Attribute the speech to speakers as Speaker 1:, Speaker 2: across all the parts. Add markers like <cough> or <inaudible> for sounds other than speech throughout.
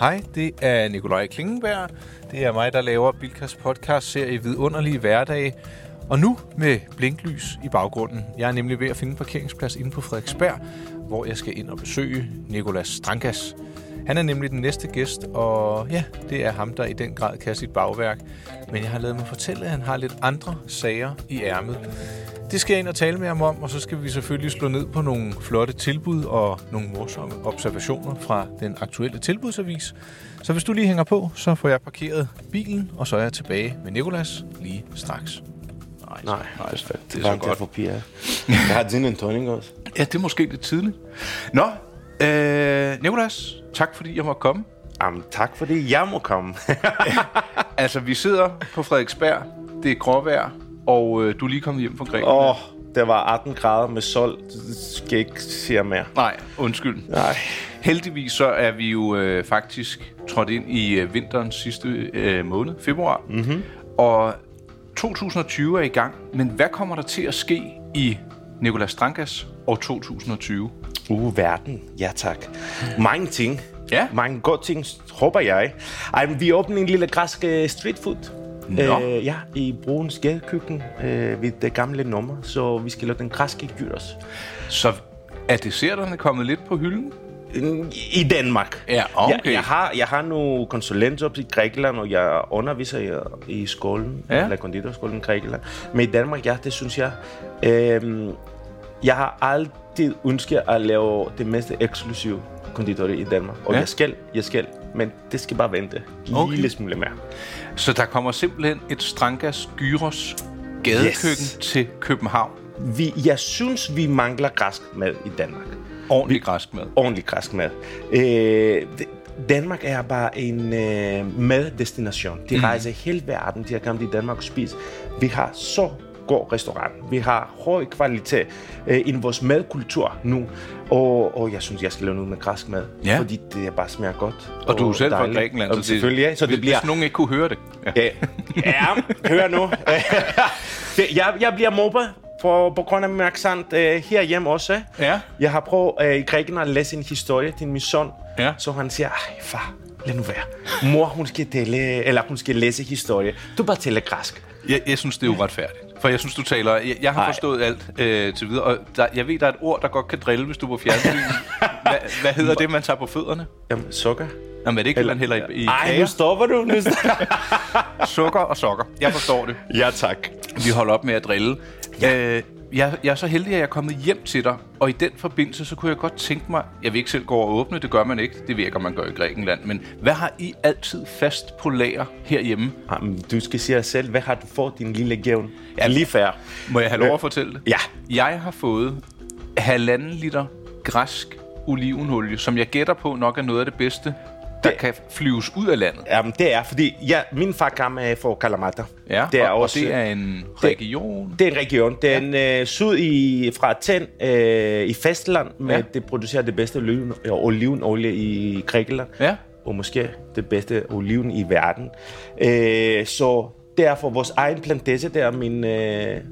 Speaker 1: Hej, det er Nikolaj Klingenberg. Det er mig, der laver Bilkas podcast serie Vidunderlige Hverdage. Og nu med blinklys i baggrunden. Jeg er nemlig ved at finde en parkeringsplads inde på Frederiksberg, hvor jeg skal ind og besøge Nikolas Strankas. Han er nemlig den næste gæst, og ja, det er ham, der i den grad kan sit bagværk. Men jeg har lavet mig fortælle, at han har lidt andre sager i ærmet. Det skal jeg ind og tale med ham om, og så skal vi selvfølgelig slå ned på nogle flotte tilbud og nogle morsomme observationer fra den aktuelle tilbudsavis. Så hvis du lige hænger på, så får jeg parkeret bilen, og så er jeg tilbage med Nikolas lige straks.
Speaker 2: Nej, nej, det,
Speaker 1: det er så
Speaker 2: langt
Speaker 1: godt.
Speaker 2: herfra, Pia. Jeg har gin and tonic også.
Speaker 1: Ja, det er måske lidt tidligt. Nå, øh, Nikolas, tak fordi jeg måtte komme.
Speaker 2: Jamen, tak for det. Jeg må <laughs> komme.
Speaker 1: Altså, vi sidder på Frederiksberg, det er gråvejr, og øh, du er lige kommet hjem fra Grækenland.
Speaker 2: Åh, oh, der var 18 grader med sol. Det skal jeg ikke sige mere.
Speaker 1: Nej, undskyld.
Speaker 2: Nej.
Speaker 1: Heldigvis så er vi jo øh, faktisk trådt ind i øh, vinterens sidste øh, måned, februar.
Speaker 2: Mhm.
Speaker 1: Mm-hmm. Og 2020 er i gang, men hvad kommer der til at ske i Nicolas Strankas år 2020?
Speaker 2: Uh, verden. Ja, tak. Mange ting.
Speaker 1: Ja.
Speaker 2: Mange gode ting, håber jeg. Ej, men vi åbner en lille græsk øh, street food.
Speaker 1: Nå.
Speaker 2: Øh, ja, i Brugens gadekøkken øh, ved det gamle nummer, så vi skal lave den græske gyros.
Speaker 1: Så er desserterne kommet lidt på hylden?
Speaker 2: I Danmark.
Speaker 1: Ja, okay.
Speaker 2: Jeg, jeg, har, jeg har nu konsulentjob i Grækenland, og jeg underviser i, i skolen,
Speaker 1: Ja.
Speaker 2: ja. eller konditorskolen i Grækenland. Men i Danmark, ja, det synes jeg... Øhm, jeg har altid ønsket at lave det mest eksklusive konditori i Danmark.
Speaker 1: Ja.
Speaker 2: Og ja. jeg skal, jeg skal. Men det skal bare vente.
Speaker 1: Okay.
Speaker 2: Okay. Lille smule mere.
Speaker 1: Så der kommer simpelthen et Strankas Gyros gadekøkken yes.
Speaker 2: Yes.
Speaker 1: til København.
Speaker 2: Vi, jeg synes, vi mangler græsk mad i Danmark.
Speaker 1: Ordentlig græsk mad.
Speaker 2: ordentlig græsk mad. Øh, d- Danmark er bare en øh, maddestination. De mm. rejser hele verden, de har kommet i Danmark og spist. Vi har så god restaurant. Vi har høj kvalitet øh, i vores madkultur nu. Og, og jeg synes, jeg skal lave noget med græsk mad.
Speaker 1: Ja.
Speaker 2: Fordi det bare smager godt.
Speaker 1: Og du er selv fra
Speaker 2: dejligt.
Speaker 1: Grækenland,
Speaker 2: Og
Speaker 1: så det,
Speaker 2: selvfølgelig, ja. Så
Speaker 1: hvis,
Speaker 2: det bliver...
Speaker 1: Hvis nogen ikke kunne høre det. Ja.
Speaker 2: Ja, ja hør nu. Det- <laughs> jeg, jeg bliver mobbet på, på grund af min accent øh, herhjemme også.
Speaker 1: Ja.
Speaker 2: Jeg har prøvet øh, i Grækenland at læse en historie til min søn,
Speaker 1: Ja.
Speaker 2: så han siger, ej far, lad nu være. Mor, hun skal, tale, eller hun skal læse historie. Du bare tæller græsk.
Speaker 1: Jeg, jeg synes, det er uretfærdigt. For jeg synes, du taler... Jeg, jeg har Ej.
Speaker 2: Ej.
Speaker 1: forstået alt øh, til videre. Og der, jeg ved, der er et ord, der godt kan drille, hvis du er på fjernsyn. Hva, hvad hedder det, man tager på fødderne?
Speaker 2: Jamen, sukker.
Speaker 1: Jamen, er det ikke, Eller, man hælder i, i
Speaker 2: Ej, nu
Speaker 1: kager?
Speaker 2: stopper du. Nu stopper.
Speaker 1: Sukker og sokker. Jeg forstår det.
Speaker 2: ja, tak.
Speaker 1: Vi holder op med at drille. Ja. Øh, jeg, jeg er så heldig, at jeg er kommet hjem til dig, og i den forbindelse, så kunne jeg godt tænke mig, jeg vil ikke selv gå og åbne, det gør man ikke, det virker man gør i Grækenland, men hvad har I altid fast på lager herhjemme?
Speaker 2: Jamen, du skal sige dig selv, hvad har du fået din lille gævn? Ja, lige færre.
Speaker 1: Må jeg have lov at fortælle det?
Speaker 2: Ja.
Speaker 1: Jeg har fået halvanden liter græsk olivenolie, som jeg gætter på nok er noget af det bedste, der det...
Speaker 2: Det-
Speaker 1: kan flyves ud af landet.
Speaker 2: Jamen, det er, fordi ja, min far kom øh, fra Kalamata.
Speaker 1: Ja,
Speaker 2: det er
Speaker 1: og,
Speaker 2: også,
Speaker 1: og det er en region.
Speaker 2: Det er en region. Den ja. øh, syd i, fra Athen øh, i fastland, med
Speaker 1: Ja.
Speaker 2: ja. det producerer det bedste oliven, ja, olivenolie i Grækenland.
Speaker 1: Ja.
Speaker 2: Og måske det bedste oliven i verden. Øh, så derfor vores egen plantage, der er min... Øh, er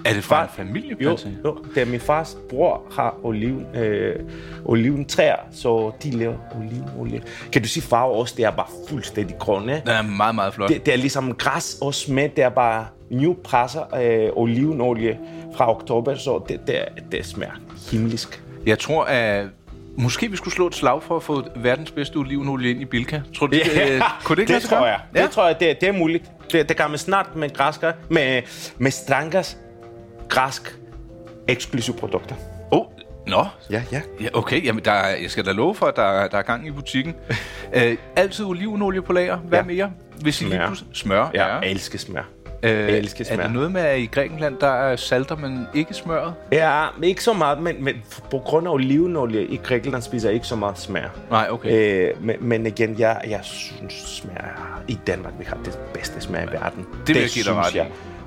Speaker 1: Er det fra en familieplantage?
Speaker 2: Jo, jo, det er min fars bror har oliven, øh, oliventræer, så de laver olivenolie. Kan du sige farve også? Det er bare fuldstændig grønne.
Speaker 1: Den er meget, meget flot.
Speaker 2: Det, det er ligesom græs og smed, der bare nu presser øh, olivenolie fra oktober, så det, det, det smager himmelsk.
Speaker 1: Jeg tror, at måske vi skulle slå et slag for at få verdens bedste olivenolie ind i Bilka. Tror du, det, øh, kunne det ikke lade
Speaker 2: det
Speaker 1: sig
Speaker 2: tror
Speaker 1: gøre?
Speaker 2: jeg.
Speaker 1: Ja.
Speaker 2: Det tror jeg, det, det er muligt. Det, det kan man snart med græsker, med, med strangas græsk eksklusive produkter.
Speaker 1: Oh, nå.
Speaker 2: Ja, ja.
Speaker 1: Ja, okay, jamen der, er- jeg skal da love for, at der, er- der er gang i butikken. Øh, altid olivenolie på lager. Hvad ja.
Speaker 2: Ja.
Speaker 1: mere? Hvis I lige
Speaker 2: Smør.
Speaker 1: pludselig... Smør,
Speaker 2: Ja, jeg elsker smør.
Speaker 1: Øh,
Speaker 2: jeg elsker smør.
Speaker 1: Er det noget med, at i Grækenland, der er salter, men ikke smøret?
Speaker 2: Ja, men ikke så meget, men, men på grund af olivenolie i Grækenland spiser jeg ikke så meget smør.
Speaker 1: Nej, okay.
Speaker 2: Øh, men, men igen, jeg, jeg synes, smør i Danmark, vi har det bedste smag i verden. Det,
Speaker 1: vil jeg give dig
Speaker 2: synes
Speaker 1: ret i.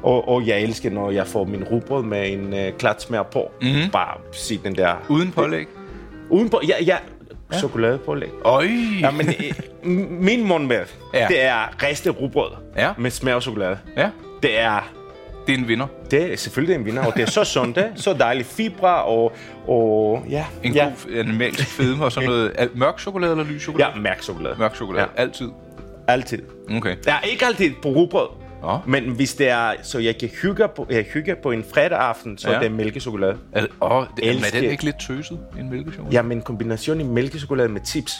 Speaker 2: Og, og jeg elsker, når jeg får min rugbrød med en øh, klart smør på. Mm-hmm.
Speaker 1: Mhm.
Speaker 2: Bare se den der...
Speaker 1: Uden pålæg?
Speaker 2: Uden på... Ja, ja. ja. Chokoladepålæg.
Speaker 1: Øj!
Speaker 2: Ja, men øh, m- min mundmad,
Speaker 1: Ja.
Speaker 2: ja. det er ristet rugbrød
Speaker 1: Ja.
Speaker 2: med smør og chokolade.
Speaker 1: Ja.
Speaker 2: Det er
Speaker 1: det er en vinder.
Speaker 2: Det er selvfølgelig en vinder, og det er så sundt, så dejligt fibre og, og ja.
Speaker 1: En
Speaker 2: ja.
Speaker 1: god animalsk fedme og sådan
Speaker 2: <laughs>
Speaker 1: noget. Al- Mørk chokolade eller lys chokolade?
Speaker 2: Ja, mærk chokolade.
Speaker 1: Mørk chokolade.
Speaker 2: Ja.
Speaker 1: Altid.
Speaker 2: Altid.
Speaker 1: Okay.
Speaker 2: Der er ikke altid på rugbrød.
Speaker 1: Nå.
Speaker 2: Men hvis det er, så jeg kan hygge på, jeg hygger på en fredag aften, så
Speaker 1: Ja.
Speaker 2: ja. det er mælkechokolade.
Speaker 1: Er, det- åh, det, jamen, er
Speaker 2: Elsker.
Speaker 1: den ikke lidt tøset, en mælkechokolade?
Speaker 2: Ja, men kombinationen af mælkechokolade med tips,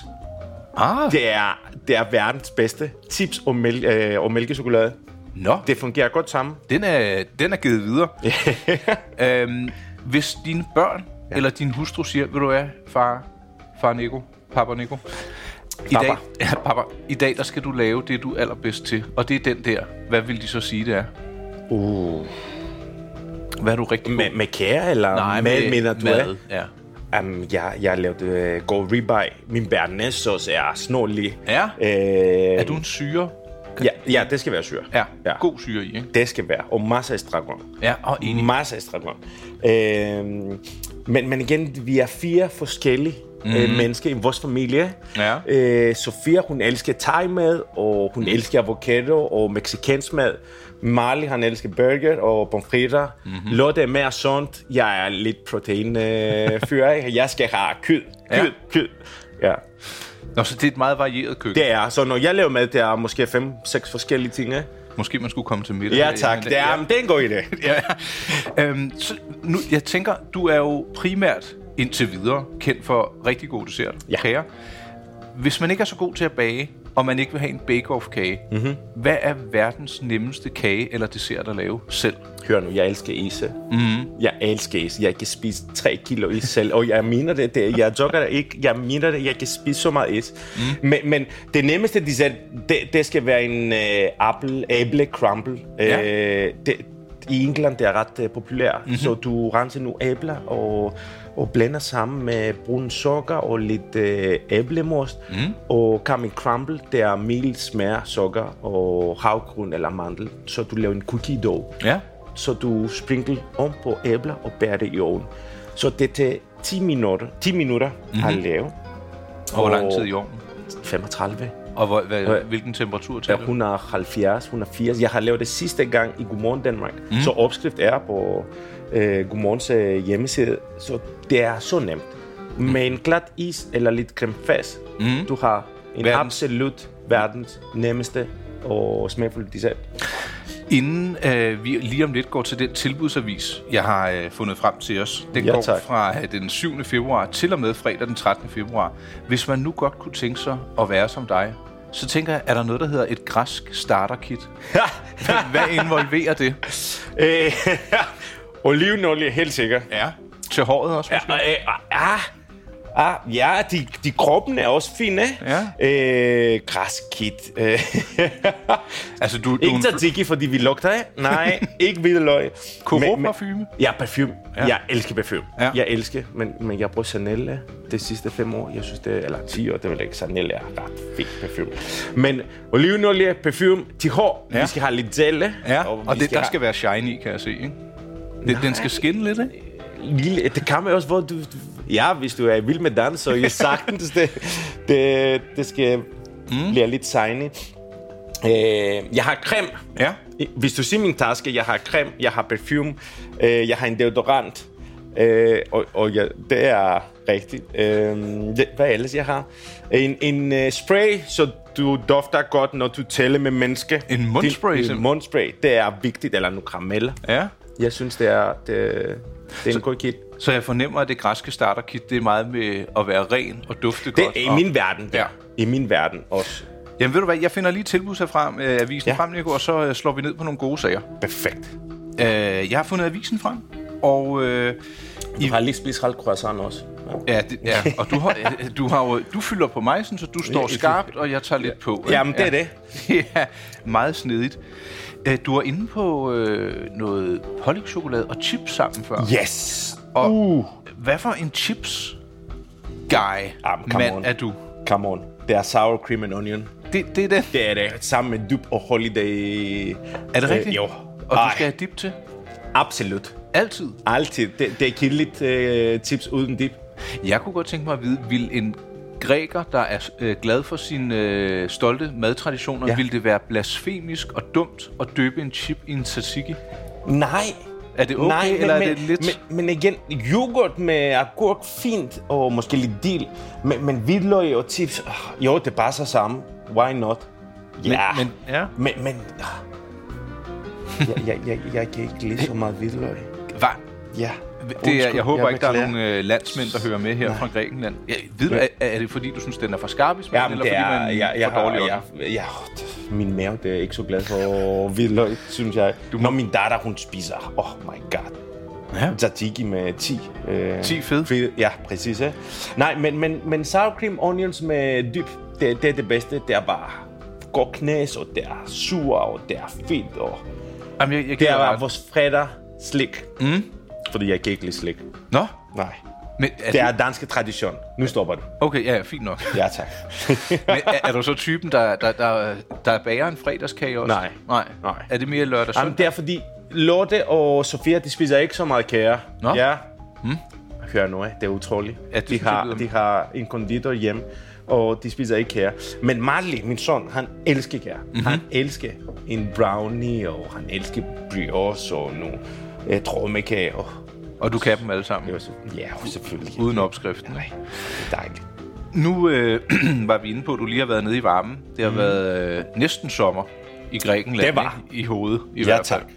Speaker 1: Ah,
Speaker 2: det er, det er verdens bedste. Tips og, mæl, øh, og mælkechokolade.
Speaker 1: nå.
Speaker 2: Det fungerer godt sammen.
Speaker 1: Den er, den er givet videre. <laughs> øhm, hvis dine børn ja. eller din hustru siger, ved du hvad, far, far Nico, pappa Nico, i
Speaker 2: Papa.
Speaker 1: dag, <laughs> ja, papa, i dag der skal du lave det, du er allerbedst til, og det er den der. Hvad vil de så sige, det er?
Speaker 2: Uh.
Speaker 1: Hvad er du rigtig
Speaker 2: Med, med kære eller Nej, med, med, med, du er?
Speaker 1: Ja.
Speaker 2: Um, jeg, jeg lavede øh, god ribeye. Min bearnaisesauce er snorlig.
Speaker 1: Ja.
Speaker 2: Øh,
Speaker 1: Er du en syre?
Speaker 2: ja, ja, det skal være syre.
Speaker 1: Ja.
Speaker 2: ja.
Speaker 1: ja. God syre i, ikke?
Speaker 2: Det skal være. Og masser af stragon.
Speaker 1: Ja, og enig.
Speaker 2: Masser af stragon. Øh, men, men igen, vi er fire forskellige mm. øh, mennesker i vores familie.
Speaker 1: Mhm. Ja. Mhm.
Speaker 2: Øh, Sofia, hun elsker thai-mad, og hun mm. elsker avocado og mexikansk mad. Marley, han elsker burger og pomfritter. Mm-hmm.
Speaker 1: Mhm.
Speaker 2: Lotte er mere sundt. Jeg er lidt protein-fyr. jeg skal have kød. Kød,
Speaker 1: Ja.
Speaker 2: ja. kød. Ja.
Speaker 1: Nå, så det er et meget varieret køkken.
Speaker 2: Det er, så når jeg laver mad, det er måske fem, seks forskellige ting. ikke?
Speaker 1: Måske man skulle komme til middag.
Speaker 2: Ja, tak. Det er,
Speaker 1: ja.
Speaker 2: men det er en god idé.
Speaker 1: <laughs> ja. øhm, så nu, jeg tænker, du er jo primært indtil videre kendt for rigtig god dessert,
Speaker 2: Ja.
Speaker 1: kager. Hvis man ikke er så god til at bage, og man ikke vil have en bake-off-kage, mm-hmm. hvad er verdens nemmeste kage eller dessert at lave selv?
Speaker 2: Hør nu, jeg elsker is. Mm. Jeg elsker is. Jeg kan spise 3 kilo is selv, og jeg mener det. det jeg jogger det ikke. Jeg mener det. Jeg kan spise så meget is. Mm. Men, men det nemmeste, de sagde, det, det skal være en øh, apple, æble crumble.
Speaker 1: Ja.
Speaker 2: Øh, det, I England det er ret øh, populært, mm-hmm. så du renser nu æbler og, og blander sammen med brun sukker og lidt øh, æblemost. Mm. Og kamen crumble, det er mel, smør, sukker og havgryn eller mandel. Så du laver en cookie dough
Speaker 1: Ja.
Speaker 2: så du sprinkler om på æbler og bærer det i ovnen. Så det tager 10 minutter, 10 minutter mm-hmm. at lave.
Speaker 1: Og hvor lang tid i ovnen?
Speaker 2: 35.
Speaker 1: Og hvor, hvad, hvilken temperatur til
Speaker 2: Ja,
Speaker 1: det?
Speaker 2: 170, 180. Jeg har lavet det sidste gang i Godmorgen Danmark. Mm. Så opskrift er på øh, Godmorgens øh, hjemmeside. Så det er så nemt. Med en glat is eller lidt creme fraiche, mm. du har
Speaker 1: Verdens-
Speaker 2: en verdens. absolut verdens nemmeste og smagfulde dessert.
Speaker 1: Inden øh, vi lige om lidt går til den tilbudsavis, jeg har øh, fundet frem til os. Den
Speaker 2: Ja,
Speaker 1: går
Speaker 2: tak.
Speaker 1: fra øh, den 7. februar til og med fredag den 13. februar. Hvis man nu godt kunne tænke sig at være som dig, så tænker jeg, er der noget, der hedder et græsk starterkit? Hvad involverer det?
Speaker 2: Øh, <laughs> Olivenolie, helt sikkert.
Speaker 1: Ja. Til håret også, måske?
Speaker 2: Ja, øh, ah, ah, ja de, de kroppen er også fine.
Speaker 1: Ja.
Speaker 2: Øh,
Speaker 1: <laughs>
Speaker 2: græskit. Øh.
Speaker 1: Altså, du, du er
Speaker 2: ikke
Speaker 1: en
Speaker 2: tzatziki, fordi vi lugter af. Nej,
Speaker 1: <laughs>
Speaker 2: ikke hvide løg. Men- men-
Speaker 1: Koro-parfume?
Speaker 2: Ja, parfume.
Speaker 1: Ja.
Speaker 2: Ja. Jeg elsker parfume.
Speaker 1: Ja.
Speaker 2: Ja. Jeg elsker, men, men jeg bruger Chanel øh, de sidste fem år. Jeg synes, det er, eller 10 år, det er vel ikke. Chanel er ret fed parfume. Men olivenolie, parfume, til hår.
Speaker 1: Ja.
Speaker 2: Ja. Vi skal have lidt zelle.
Speaker 1: Ja, og
Speaker 2: vi
Speaker 1: det, der
Speaker 2: have-
Speaker 1: skal være shiny, kan jeg se, ikke? Den, den skal skinne lidt, ikke?
Speaker 2: lille, det kan man også, hvor du... Ja, hvis du er vild med dans, så er sagtens, det, det, det skal mm. blive lidt shiny. Øh, jeg har creme.
Speaker 1: Ja.
Speaker 2: Hvis du ser min taske, jeg har creme, jeg har parfume, øh, jeg har en deodorant. Øh, og og jeg, det er rigtigt. Øh, det, hvad ellers jeg har? En, en uh, spray, så du dufter godt, når du taler med menneske.
Speaker 1: En mundspray,
Speaker 2: Din-
Speaker 1: simpelthen?
Speaker 2: En mundspray, det er vigtigt. Eller nu karameller.
Speaker 1: Ja.
Speaker 2: Jeg synes, det er, det, det er en god kit.
Speaker 1: Så jeg fornemmer, at det græske starterkit, det er meget med at være ren og dufte
Speaker 2: Det
Speaker 1: godt.
Speaker 2: er i
Speaker 1: og-
Speaker 2: min verden, der.
Speaker 1: Ja.
Speaker 2: Ja. I min verden også.
Speaker 1: Jamen ved du hvad, jeg finder lige tilbudset frem, øh, avisen ja.
Speaker 2: Ja.
Speaker 1: frem, Nico, og så øh, slår vi ned på nogle gode sager.
Speaker 2: Perfekt.
Speaker 1: Øh, jeg har fundet avisen frem, og, øh,
Speaker 2: Du har lige spist halv croissant også.
Speaker 1: ja, det, ja, og du, har,
Speaker 2: <laughs>
Speaker 1: øh, du, har jo, du fylder på mig, sådan, så du står skarpt, og jeg tager lidt på. ikke?
Speaker 2: Jamen, det er
Speaker 1: ja.
Speaker 2: det.
Speaker 1: <laughs> ja, meget snedigt. Øh, du var inde på øh, noget pålægtschokolade og chips sammen før.
Speaker 2: Yes!
Speaker 1: Og-
Speaker 2: Uh.
Speaker 1: Hvad for en chips-guy,
Speaker 2: Jamen, come
Speaker 1: mand,
Speaker 2: on.
Speaker 1: er du?
Speaker 2: Come on. Det er sour cream and onion.
Speaker 1: Det, det er det.
Speaker 2: Det er det. Sammen med dyb og holiday.
Speaker 1: Er det
Speaker 2: Øh,
Speaker 1: rigtigt?
Speaker 2: jo.
Speaker 1: Og du
Speaker 2: Ej.
Speaker 1: skal have dip til?
Speaker 2: Absolut.
Speaker 1: Altid.
Speaker 2: Altid. Det, det er kedeligt uh, tips uden dip.
Speaker 1: Jeg kunne godt tænke mig at vide, vil en græker, der er øh, glad for sine øh, stolte madtraditioner, ja.
Speaker 2: Ja.
Speaker 1: vil det være blasfemisk og dumt at døbe en chip i en tzatziki?
Speaker 2: Nej.
Speaker 1: Er det okay,
Speaker 2: Nej,
Speaker 1: eller er det lidt-
Speaker 2: Men, men igen, yoghurt med agurk, fint, og måske lidt dild. Men, men hvidløg og chips, øh, jo, det passer sammen. Why not? Ja,
Speaker 1: men- ja.
Speaker 2: men, men øh, jeg, jeg, jeg, jeg kan ikke lide så meget hvidløg.
Speaker 1: Hva?
Speaker 2: Ja.
Speaker 1: Det er,
Speaker 2: undskyld,
Speaker 1: jeg håber ikke, der er
Speaker 2: beklager.
Speaker 1: nogen øh, landsmænd, der hører med her
Speaker 2: Nej.
Speaker 1: fra Grækenland. Jeg ved, er, er det fordi, du synes, den er for skarp i smagen,
Speaker 2: Jamen,
Speaker 1: eller
Speaker 2: det
Speaker 1: fordi
Speaker 2: er,
Speaker 1: man
Speaker 2: jeg, jeg,
Speaker 1: får
Speaker 2: har,
Speaker 1: dårlig ånd?
Speaker 2: jeg, jeg, åh, min mave det er ikke så glad for hvidløg, synes jeg. Du Når min datter, hun spiser, oh my god,
Speaker 1: Ja.
Speaker 2: tzatziki med 10. Øh,
Speaker 1: 10 fed?
Speaker 2: fed. Ja, præcis. Ja. Nej, men, men, men sour cream onions med dyb, det, det er det bedste. Det er bare godt knæs, og det er sur, og det er fedt, og
Speaker 1: Jamen, jeg, jeg
Speaker 2: det
Speaker 1: giver
Speaker 2: er
Speaker 1: dig
Speaker 2: bare
Speaker 1: ret.
Speaker 2: vores fredag slik. Mm. Fordi jeg kan ikke lide slik.
Speaker 1: Nå,
Speaker 2: Nej.
Speaker 1: men er,
Speaker 2: Det er danske tradition. Nu stopper det.
Speaker 1: Okay, ja, ja, fint nok.
Speaker 2: Ja, tak.
Speaker 1: Men er, er du så typen, der, der, der, der bager en fredagskage også?
Speaker 2: Nej.
Speaker 1: Nej.
Speaker 2: Nej.
Speaker 1: Er det mere lørdag
Speaker 2: Jamen,
Speaker 1: søndag?
Speaker 2: det er fordi Lotte og Sofia, de spiser ikke så meget kager.
Speaker 1: Nå.
Speaker 2: Ja. Hmm? Hør nu, af, det er utroligt.
Speaker 1: Ja, det
Speaker 2: de,
Speaker 1: synes jeg
Speaker 2: har,
Speaker 1: lyder-
Speaker 2: de har en konditor hjem, og de spiser ikke kager. Men Marley, min son, han elsker kager.
Speaker 1: Mhm.
Speaker 2: Mm-hmm. Han elsker en brownie, og han elsker brioche og nogle øh, trommekager. Og,
Speaker 1: Og du kan dem alle sammen,
Speaker 2: det var så, ja, og selvfølgelig.
Speaker 1: uden opskriften.
Speaker 2: Nej, det er dejligt.
Speaker 1: Nu øh, <clears throat> var vi inde på, at du lige har været nede i varmen. Det har mm. været øh, næsten sommer i Grækenland.
Speaker 2: Det var.
Speaker 1: ikke? I hovedet, i
Speaker 2: Ja,
Speaker 1: hvert fald.
Speaker 2: tak.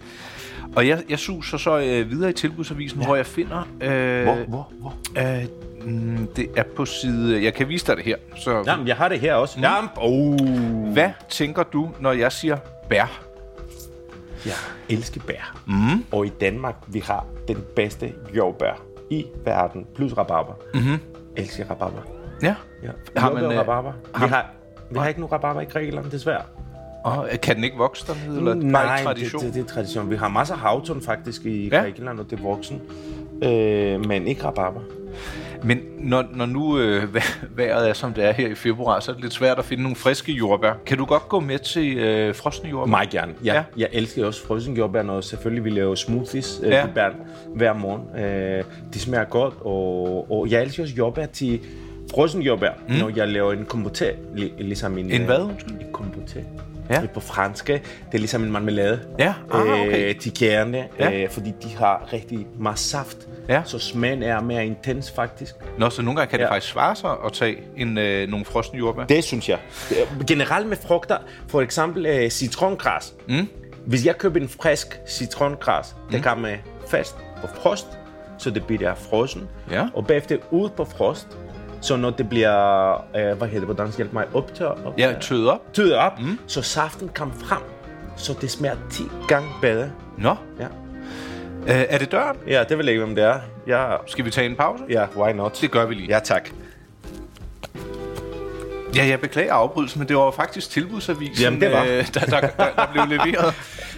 Speaker 1: Og jeg, jeg suser så øh, videre i tilbudsavisen, ja. hvor jeg finder... Øh,
Speaker 2: Hvor, hvor, hvor?
Speaker 1: Øh, mm, det er på side... Jeg kan vise dig det her. Så
Speaker 2: Jamen, jeg har det her også. Mm. Jamen, oh.
Speaker 1: Hvad tænker du, når jeg siger bær?
Speaker 2: Jeg elsker bær. Mm.
Speaker 1: Mhm.
Speaker 2: Og i Danmark, vi har den bedste jordbær i verden, plus rabarber. Mm-hmm. Elsker rabarber.
Speaker 1: Ja.
Speaker 2: Ja.
Speaker 1: Mhm. Har
Speaker 2: Har
Speaker 1: man,
Speaker 2: man,
Speaker 1: øh,
Speaker 2: rabarber. Vi har, vi har ikke nogen rabarber i Grækenland, desværre.
Speaker 1: Og øh, kan den ikke vokse dernede? Eller er det bare
Speaker 2: Nej,
Speaker 1: en tradition?
Speaker 2: Det, det, det er tradition. Vi har masser af havtun faktisk i
Speaker 1: Ja.
Speaker 2: ja. Grækenland, og det er voksen. Øh, men ikke rabarber.
Speaker 1: Men når, når nu øh, <laughs> vær- vejret er, som det er her i februar, så er det lidt svært at finde nogle friske jordbær. Kan du godt gå med til øh, frosne jordbær?
Speaker 2: Meget gerne.
Speaker 1: Ja.
Speaker 2: Jeg, ja. jeg elsker også frossen jordbær, og selvfølgelig vi laver smoothies øh,
Speaker 1: Ja.
Speaker 2: ja. bær, hver morgen. Øh, de smager godt, og, og jeg elsker også jordbær til frossen jordbær, mm. når jeg laver en kompoté. Li, ligesom en,
Speaker 1: En hvad, undskyld?
Speaker 2: En kompoté.
Speaker 1: Ja.
Speaker 2: Ja. Det er på fransk. Det er ligesom en marmelade.
Speaker 1: Ja. Ah, okay.
Speaker 2: Øh, til kærne,
Speaker 1: Ja.
Speaker 2: ja. øh, fordi de har rigtig meget saft.
Speaker 1: Ja.
Speaker 2: Så smagen er mere intens faktisk.
Speaker 1: Nå, så nogle gange kan ja. det
Speaker 2: Ja.
Speaker 1: faktisk svare sig at tage en, øh, nogle frosne jordbær. Det.
Speaker 2: Det synes jeg. Generelt med frugter, for eksempel øh, citrongræs. Mm. Hvis jeg køber en frisk citrongræs, mm. det kan med fast på frost, så det bliver frossen.
Speaker 1: Ja.
Speaker 2: Og bagefter ud på frost, så når det bliver, øh, hvad hedder det på dansk, hjælp mig, optør, optør
Speaker 1: Ja, tøet op.
Speaker 2: tyder op, mm. så saften kommer frem, så det smager 10 gange bedre.
Speaker 1: Nå,
Speaker 2: Ja.
Speaker 1: øh, er det døren?
Speaker 2: ja, det vil jeg ikke, hvem det er. Ja,
Speaker 1: Skal vi tage en pause?
Speaker 2: ja why not?
Speaker 1: Det gør vi lige.
Speaker 2: Ja, tak.
Speaker 1: Ja, jeg beklager afbrydelsen, men det var jo faktisk tilbudsavisen,
Speaker 2: Jamen, det var.
Speaker 1: øh, der, der, der, der blev
Speaker 2: <laughs>
Speaker 1: leveret.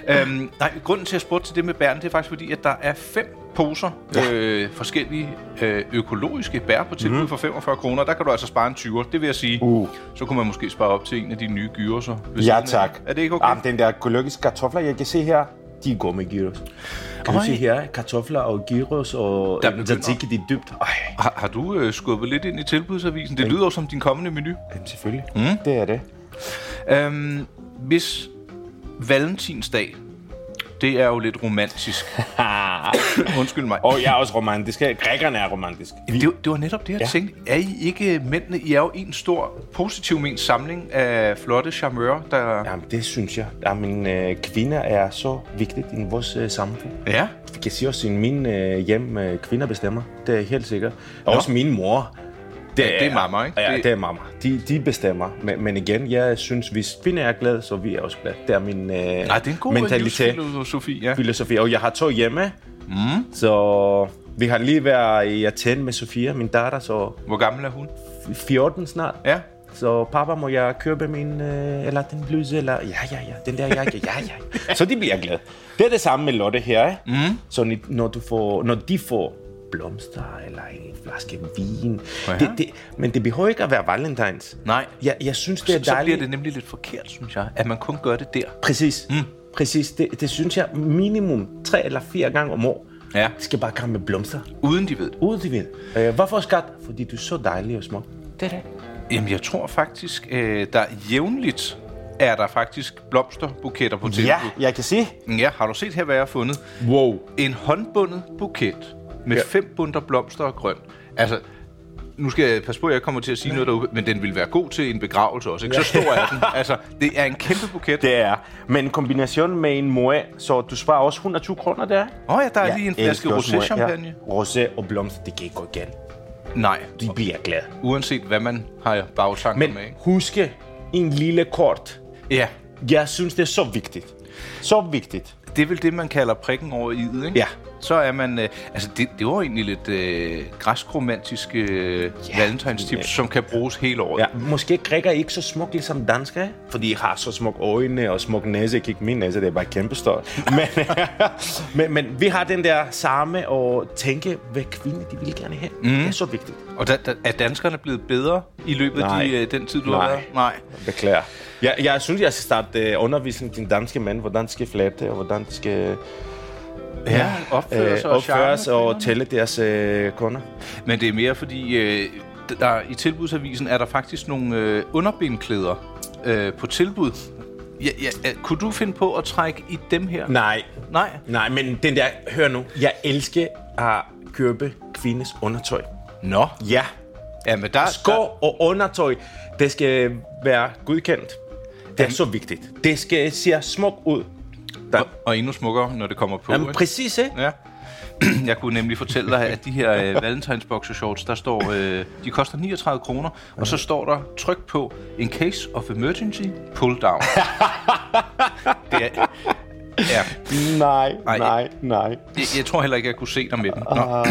Speaker 1: Øhm, nej, grunden til, at jeg spurgte til det med bæren, det er faktisk fordi, at der er fem poser øh, forskellige øh, økologiske bær på tilbud mm. for 45 kroner. Der kan du altså spare en 20'er, det vil jeg sige.
Speaker 2: Mhm. Uh.
Speaker 1: Så kunne man måske spare op til en af de nye gyros. så, ved
Speaker 2: Ja,
Speaker 1: siden af.
Speaker 2: tak.
Speaker 1: øh, Er det ikke okay?
Speaker 2: Jamen, den der økologiske kartofler, jeg kan se her, de går med gyros. Kan du
Speaker 1: Ej.
Speaker 2: se her, kartofler og gyros og
Speaker 1: Der
Speaker 2: der
Speaker 1: begynder-
Speaker 2: tzatziki, de er dybt. Ej,
Speaker 1: Har, har du øh, skubbet lidt ind i tilbudsavisen? Det lyder jo som din kommende menu.
Speaker 2: jamen, selvfølgelig. Mm. Det er det.
Speaker 1: Øhm, hvis valentinsdag, det er jo lidt
Speaker 2: <laughs>
Speaker 1: romantisk. Undskyld mig.
Speaker 2: og jeg er også romantisk. Grækerne er romantisk. Vi,
Speaker 1: Det, det var netop det, jeg ja.
Speaker 2: Ja.
Speaker 1: tænkte. Er I ikke mændene? I er jo en stor, positiv ment samling af flotte charmører, der...
Speaker 2: jamen, det synes jeg. Jamen, øh, kvinder er så vigtigt i vores øh, samfund.
Speaker 1: Ja.
Speaker 2: Jeg kan sige også, at min øh, hjem øh, kvinder bestemmer. Det er helt sikkert. Og også min mor.
Speaker 1: Ja, det er mamma, ikke?
Speaker 2: Ja,
Speaker 1: Det-
Speaker 2: det, det er mamma. De, de bestemmer. Men, men igen, jeg synes, hvis kvinder er glade, så vi er også glade. Det er min øh,
Speaker 1: Nej, det er en god
Speaker 2: mentalitet.
Speaker 1: livsfilosofi, ja.
Speaker 2: filosofi. Og jeg har to hjemme, mm. så vi har lige været i Athen med Sofia, min datter, så
Speaker 1: Hvor gammel er hun?
Speaker 2: 14 snart.
Speaker 1: Ja.
Speaker 2: Så papa, må jeg købe min, øh, eller den bluse, eller ja, ja, ja, den der jakke, ja, ja. <laughs> Så de bliver glade. Det er det samme med Lotte her, ikke? Mm. Så ni- når, du får, når de får blomster, eller en flaske vin.
Speaker 1: Ja.
Speaker 2: Det, det, men det behøver ikke at være valentines.
Speaker 1: Nej.
Speaker 2: Jeg, jeg synes, det er
Speaker 1: Så, så bliver
Speaker 2: dejligt.
Speaker 1: det nemlig lidt forkert, synes jeg, at man kun gør det der.
Speaker 2: Præcis. Mm. Præcis. Det, det synes jeg minimum tre eller fire gange om året.
Speaker 1: Ja.
Speaker 2: De skal bare komme med blomster.
Speaker 1: Uden de ved det.
Speaker 2: Ud til vind. Øh, hvorfor skat? Fordi du er så dejlig og smuk.
Speaker 1: Jamen, jeg tror faktisk, øh, der jævnligt er der faktisk blomsterbuketter på tilbud.
Speaker 2: Ja, jeg kan se.
Speaker 1: Ja, har du set her, hvad jeg har fundet?
Speaker 2: Wow.
Speaker 1: En håndbundet buket med
Speaker 2: Ja.
Speaker 1: ja. fem bunter blomster og grønt. Altså, nu skal jeg passe på, at jeg kommer til at sige noget derude, men den vil være god til en begravelse også, ikke? Så stor er den. Altså, det er en kæmpe buket. Åh
Speaker 2: Det er. Men en kombination med en moe, så du sparer også 120 kroner der.
Speaker 1: oh, ja, der er lige en flaske
Speaker 2: elsker også Moët.
Speaker 1: rosé-champagne.
Speaker 2: Ja. Rosé og blomster, det kan ikke gå igen.
Speaker 1: Nej,
Speaker 2: De bliver glade.
Speaker 1: uanset hvad man har bagtanker
Speaker 2: Men
Speaker 1: med, ikke?
Speaker 2: huske en lille kort.
Speaker 1: Ja,
Speaker 2: Jeg synes, det er så vigtigt. Så vigtigt.
Speaker 1: det er vel det, man kalder prikken over i ikke?
Speaker 2: Ja.
Speaker 1: Så er man... Øh, altså, det, det var egentlig lidt øh, græskromantisk øh, ja, valentinstips, som kan bruges hele året.
Speaker 2: Ja, måske grækker ikke så smuk ligesom danskere, fordi I har så smukke øjne og smuk næse. Kig min næse, det er bare kæmpestor.
Speaker 1: <laughs>
Speaker 2: men, <laughs> men, men vi har den der samme og tænke, hvad kvinder de vil gerne have.
Speaker 1: Mhm.
Speaker 2: Mm. Det er så vigtigt.
Speaker 1: Og da, da, er danskerne blevet bedre i løbet af
Speaker 2: Nej.
Speaker 1: de, øh, den tid, du har
Speaker 2: Nej.
Speaker 1: været? Nej.
Speaker 2: Beklager. Jeg, jeg synes, jeg skal starte øh, undervisning til danske mænd, hvordan skal flette, og hvordan skal
Speaker 1: Ja, opfører
Speaker 2: øh,
Speaker 1: sig og charme
Speaker 2: opføres og
Speaker 1: kvinderne.
Speaker 2: tælle deres øh, kunder.
Speaker 1: Men det er mere fordi, øh, der, i tilbudsavisen er der faktisk nogle øh, underbindklæder øh, på tilbud. Ja, ja, ja, øh, kunne du finde på at trække i dem her?
Speaker 2: Nej,
Speaker 1: Nej.
Speaker 2: nej, men den der, hør nu, jeg elsker at købe kvindes undertøj.
Speaker 1: Nå.
Speaker 2: Ja,
Speaker 1: Ja, men der, der,
Speaker 2: sko og undertøj, det skal være godkendt. Det er så vigtigt. Det skal se smukt ud. Der,
Speaker 1: og endnu smukkere, når det kommer på.
Speaker 2: jamen,
Speaker 1: ikke?
Speaker 2: præcis, ikke?
Speaker 1: Ja. <clears throat> Jeg kunne nemlig fortælle dig, at de her øh,
Speaker 2: <laughs>
Speaker 1: valentinsboxershorts, der står, øh, de koster 39 kroner, og så står der tryk på, in case of emergency, pull
Speaker 2: <laughs>
Speaker 1: down. det er, ja,
Speaker 2: Nej,
Speaker 1: Ej.
Speaker 2: nej, nej.
Speaker 1: jeg, jeg tror heller ikke, jeg kunne se dig med dem. Nå.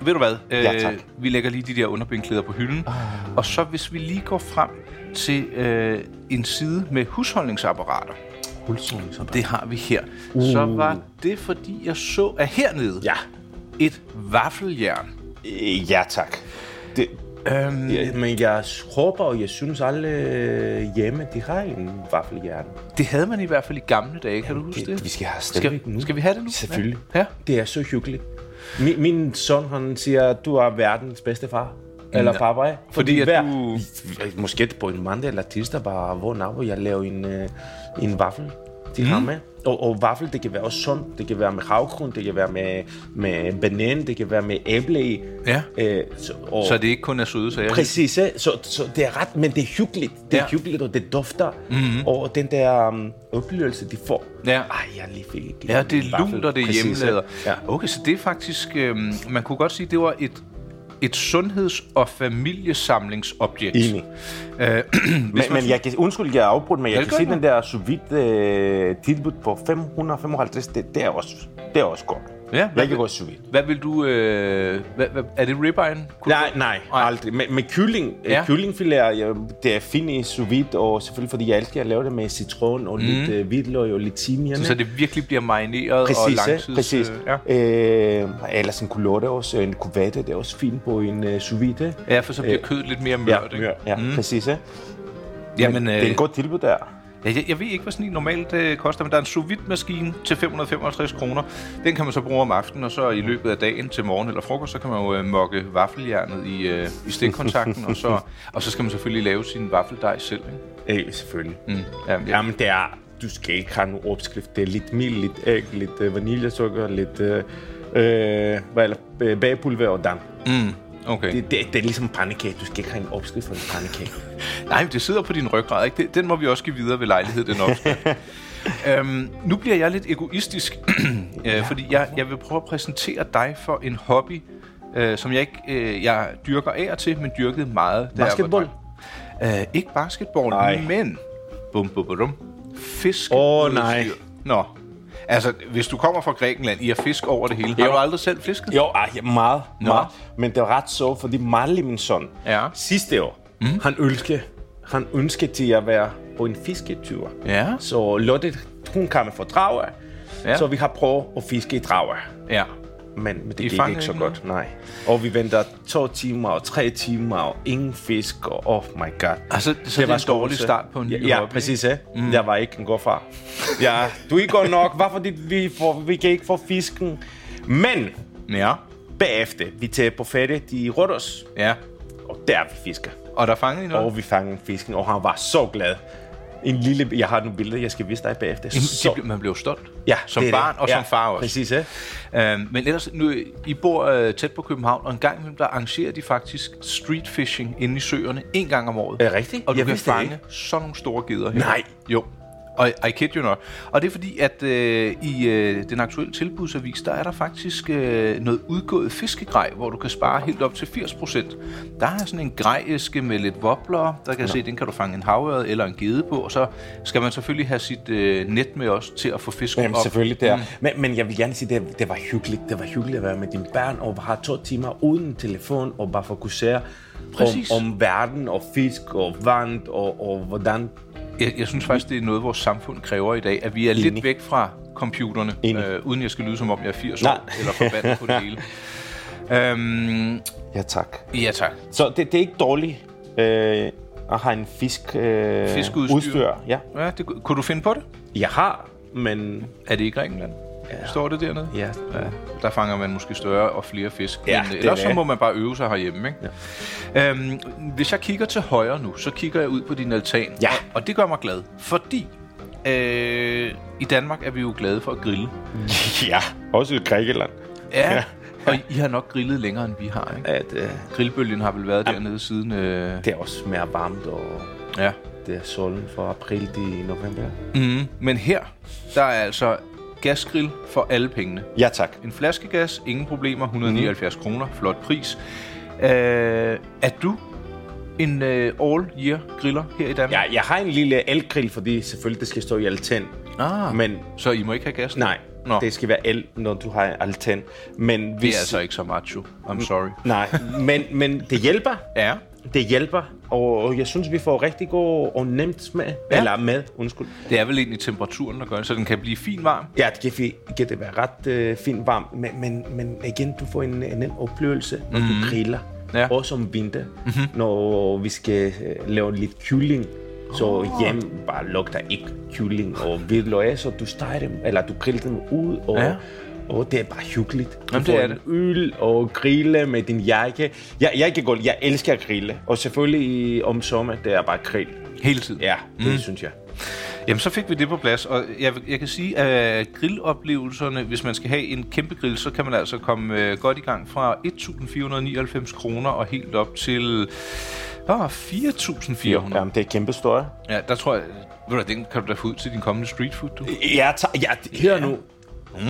Speaker 1: Ved du hvad? Øh,
Speaker 2: Ah. Ja, tak. Ah.
Speaker 1: Vi lægger lige de der underbindklæder på hylden, og så hvis vi lige går frem til øh, en side med husholdningsapparater, det har vi her, så var det, fordi jeg så, at hernede,
Speaker 2: Uh. Ja,
Speaker 1: et vaffeljern.
Speaker 2: Øh, ja tak. Det,
Speaker 1: Øhm,
Speaker 2: Ja, men jeg håber, og jeg synes alle øh, hjemme, de har en vaffelhjerne.
Speaker 1: det havde man i hvert fald i gamle dage, kan du huske det?
Speaker 2: Vi skal have
Speaker 1: skal,
Speaker 2: stadigvæk nu.
Speaker 1: skal vi have det nu?
Speaker 2: Selvfølgelig.
Speaker 1: Ja. ja.
Speaker 2: Det er så hyggeligt. Min, min søn, han siger, du er verdens bedste far. Eller
Speaker 1: Nå.
Speaker 2: farfar, ikke?
Speaker 1: Fordi at
Speaker 2: hver-
Speaker 1: du-
Speaker 2: Måske på en mandag eller tirsdag, bare hvor nabo, jeg laver en, øh, en vaffel til mm. ham med. Og, og vaffel, det kan være også sundt. Det kan være med havgrund, det kan være med, med banan, det kan være med æble i.
Speaker 1: Ja.
Speaker 2: Øh, så, og,
Speaker 1: Så det ikke kun er søde sager.
Speaker 2: Præcis, ikke? så, så det er ret, men det er hyggeligt. Det er
Speaker 1: Ja. Mhm.
Speaker 2: ja. hyggeligt, og det dufter. Mm-hmm. Og den der um, oplevelse, de får.
Speaker 1: Ja.
Speaker 2: Ej, jeg lige fik ikke
Speaker 1: Ja, det er lunt, og det er hjemmelader.
Speaker 2: Ja.
Speaker 1: Okay, så det er faktisk... Øhm, man kunne godt sige, det var et et sundheds- og familiesamlingsobjekt.
Speaker 2: Enig.
Speaker 1: Øh, <clears throat>
Speaker 2: Men, men jeg kan, undskyld, jeg er afbrudt, men jeg
Speaker 1: det
Speaker 2: kan se
Speaker 1: godt,
Speaker 2: den der sous vide øh, tilbud på 555, det, det, er også, det er også godt.
Speaker 1: ja,
Speaker 2: Jeg
Speaker 1: hvad,
Speaker 2: kan
Speaker 1: vil,
Speaker 2: godt sous vide.
Speaker 1: hvad vil du... Øh, hvad, hvad, er det ribbeyen? Kunne
Speaker 2: Nej, nej, aldrig. Men, men kylling,
Speaker 1: Ja.
Speaker 2: ja. kyllingfiléer, ja, det er fint i sous vide, og selvfølgelig fordi jeg elsker at lave det med citron og mm. lidt øh, hvidløg og lidt timian.
Speaker 1: du-
Speaker 2: ikke?
Speaker 1: Mhm. Så det virkelig bliver marineret og
Speaker 2: Præcis,
Speaker 1: langtids...
Speaker 2: ja, præcis.
Speaker 1: øh,
Speaker 2: Ja.
Speaker 1: ja.
Speaker 2: Øh, ellers en culotte også, en cuvette, det er også fint på en uh, sous vide.
Speaker 1: ja, for så bliver kødet lidt mere mørt. ikke?
Speaker 2: Øh, ja, ja mm. øh, præcis. Ja.
Speaker 1: Jamen, øh,
Speaker 2: Det er et godt tilbud der.
Speaker 1: Ja, jeg, jeg ved ikke, hvad sådan en normalt øh, koster, men der er en sous vide maskine til 555 kroner. Den kan man så bruge om aftenen, og så i løbet af dagen til morgen eller frokost, så kan man jo øh, mokke vaffeljernet i, øh, i stikkontakten, og, så, <laughs> og så skal man selvfølgelig lave sin vaffeldej selv. Ikke?
Speaker 2: Øh, selvfølgelig. Mm.
Speaker 1: Ja, men, ja.
Speaker 2: Jamen, det er, du skal ikke have nogen opskrift. Det er lidt mild, lidt æg, lidt øh, vaniljesukker, lidt øh, øh, hvad eller, øh, bagpulver og dan.
Speaker 1: Okay.
Speaker 2: Det, det, det, er ligesom pandekage. Du skal ikke have en opskrift for en pandekage.
Speaker 1: Nej, men det sidder på din ryggrad, ikke? Det, den må vi også give videre ved lejlighed, den opskrift.
Speaker 2: <laughs>
Speaker 1: øhm, nu bliver jeg lidt egoistisk, <clears throat> øh, fordi jeg, jeg vil prøve at præsentere dig for en hobby, øh, som jeg ikke øh, jeg dyrker af og til, men dyrkede meget. da jeg var
Speaker 2: Basketball?
Speaker 1: dreng. Øh, ikke basketball,
Speaker 2: Nej.
Speaker 1: nej. men bum, bum, bum, bum. fisk.
Speaker 2: Åh, nej.
Speaker 1: Nå. Altså, hvis du kommer fra Grækenland, I har fisk over det hele. Har
Speaker 2: Jo.
Speaker 1: du aldrig selv fisket?
Speaker 2: Jo, ej, ja, meget, meget. Men det var ret så, fordi Marley, min søn,
Speaker 1: Ja.
Speaker 2: sidste år, mm. han ønskede, han ønskede til at være på en fisketur.
Speaker 1: Ja.
Speaker 2: Så Lotte, hun kom fra Drage,
Speaker 1: Ja.
Speaker 2: ja. så vi har prøvet at fiske i Drage.
Speaker 1: Ja.
Speaker 2: Men, men det
Speaker 1: I
Speaker 2: gik
Speaker 1: fangede
Speaker 2: ikke så
Speaker 1: ikke
Speaker 2: godt, nej. Og vi venter to timer og tre timer og ingen fisk, og oh my god.
Speaker 1: Altså, så det, det er en dårlig
Speaker 2: skuffelse.
Speaker 1: start på en ny
Speaker 2: ja, ja,
Speaker 1: hobby.
Speaker 2: præcis. Ja. Mm. Jeg var ikke en god far. Ja, du er ikke god nok. Hvorfor det, vi, får, vi kan ikke få fisken? Men
Speaker 1: Ja.
Speaker 2: Bagefter, vi tager på ferie i Rhodos,
Speaker 1: Ja.
Speaker 2: og der vi fisker.
Speaker 1: Og der fangede I noget?
Speaker 2: Og vi fangede fisken, og han var så glad. En lille, jeg har nogle billeder, jeg skal vise dig bagefter.
Speaker 1: Så. Det, man blev stolt.
Speaker 2: Ja,
Speaker 1: som
Speaker 2: det er
Speaker 1: barn
Speaker 2: det.
Speaker 1: og
Speaker 2: ja,
Speaker 1: som far også.
Speaker 2: Præcis, ja.
Speaker 1: Øhm, men ellers, nu, I bor øh, tæt på København, og en gang imellem, der arrangerer de faktisk street fishing inde i søerne en gang om året.
Speaker 2: Er det rigtigt?
Speaker 1: Og du
Speaker 2: Jeg
Speaker 1: kan
Speaker 2: vidste det
Speaker 1: fange
Speaker 2: ikke.
Speaker 1: sådan nogle store geder her.
Speaker 2: Nej.
Speaker 1: Jo. Og I kid you not. Og det er fordi, at øh, i øh, den aktuelle tilbudsavis, der er der faktisk øh, noget udgået fiskegrej, hvor du kan spare helt op til 80%. Der er sådan en grejeske med lidt wobbler, der kan jeg se, den kan du fange en havørred eller en gede på, og så skal man selvfølgelig have sit øh, net med også til at få fisken
Speaker 2: Jamen,
Speaker 1: op.
Speaker 2: selvfølgelig, det er. Mm. Men, men jeg vil gerne sige, det, det var hyggeligt. Det var hyggeligt at være med dine børn og bare to timer uden telefon og bare fokusere
Speaker 1: Præcis.
Speaker 2: om, om verden og fisk og vand og, og hvordan...
Speaker 1: Jeg, jeg synes faktisk, det er noget, vores samfund kræver i dag, at vi er Enig. lidt væk fra computerne,
Speaker 2: Enig.
Speaker 1: øh, uden jeg skal lyde, som om jeg er 80
Speaker 2: Nej.
Speaker 1: år, eller forbandet på det
Speaker 2: <laughs>
Speaker 1: hele. Øhm,
Speaker 2: Ja, tak.
Speaker 1: ja tak.
Speaker 2: Så det, det er ikke dårligt øh, at have en fisk, øh,
Speaker 1: Fiskeudstyr.
Speaker 2: Udstyr, ja.
Speaker 1: Ja, det, kunne du finde på det?
Speaker 2: Jeg har, men...
Speaker 1: Er det i Grækenland? Ja. Står det dernede?
Speaker 2: Ja.
Speaker 1: Ja, der fanger man måske større og flere fisk.
Speaker 2: Ja,
Speaker 1: men,
Speaker 2: det
Speaker 1: øh, ellers
Speaker 2: er
Speaker 1: så
Speaker 2: det.
Speaker 1: må man bare øve sig herhjemme. Ikke? Ja. Øhm, hvis jeg kigger til højre nu, så kigger jeg ud på din altan.
Speaker 2: Ja.
Speaker 1: Og, og det gør mig glad, fordi øh, i Danmark er vi jo glade for at grille.
Speaker 2: <laughs> ja, også i Grækenland.
Speaker 1: Ja. ja. Og I har nok grillet længere, end vi har, ikke?
Speaker 2: Ja, det,
Speaker 1: Grillbølgen har vel været dernede siden... Øh,
Speaker 2: øh, det er også mere varmt, og
Speaker 1: ja.
Speaker 2: det er solen fra april til november.
Speaker 1: Mm, men her, der er altså gasgrill for alle pengene.
Speaker 2: Ja, tak.
Speaker 1: En flaskegas, ingen problemer, 179 mm. kroner, flot pris. Øh, er du en øh, all-year griller her i Danmark?
Speaker 2: Jeg, jeg har en lille elgrill, fordi selvfølgelig det skal stå i altan.
Speaker 1: Ah, men,
Speaker 2: Men
Speaker 1: så I må ikke have gas?
Speaker 2: Nej,
Speaker 1: Nå.
Speaker 2: Nå. det skal være el, når du har altan. Men hvis,
Speaker 1: Det er altså ikke så macho. I'm sorry.
Speaker 2: Nej, men, men det hjælper.
Speaker 1: Ja.
Speaker 2: Det hjælper, og, og jeg synes, vi får rigtig god og nemt smag.
Speaker 1: Ja.
Speaker 2: Ja. Eller mad, undskyld.
Speaker 1: Det er vel egentlig temperaturen, der gør det, så den kan blive fin varm.
Speaker 2: Ja, det kan, fi- kan det være ret øh, fint varmt, men, men, men igen, du får en, en nem oplevelse, når mm-hmm. du griller.
Speaker 1: Mhm. Ja. Mhm.
Speaker 2: Ja. Også om vinter, mm-hmm. når vi skal øh, lave lidt kylling. Så
Speaker 1: Ah.
Speaker 2: oh. hjem bare lugter ikke kylling og hvidløg af, så du steger dem, eller du griller dem ud, og,
Speaker 1: Ja.
Speaker 2: ja. og det er bare hyggeligt. Du
Speaker 1: Jamen,
Speaker 2: får
Speaker 1: det er
Speaker 2: en
Speaker 1: det.
Speaker 2: øl og grille med din jakke. Jeg, jeg kan godt, jeg elsker at grille, og selvfølgelig om sommer, det er bare grill.
Speaker 1: Hele tiden.
Speaker 2: Ja, det
Speaker 1: Mhm.
Speaker 2: mm. synes jeg.
Speaker 1: Jamen, så fik vi det på plads, og jeg, jeg kan sige, at grilloplevelserne, hvis man skal have en kæmpe grill, så kan man altså komme øh, godt i gang fra 1.499 kroner og helt op til åh, 4.400. Ja.
Speaker 2: Jamen, det er kæmpe stort.
Speaker 1: ja, der tror jeg, ved du, hvad, den kan du da få ud til din kommende street food, du.
Speaker 2: Jeg tager, jeg, hør nu. Mm.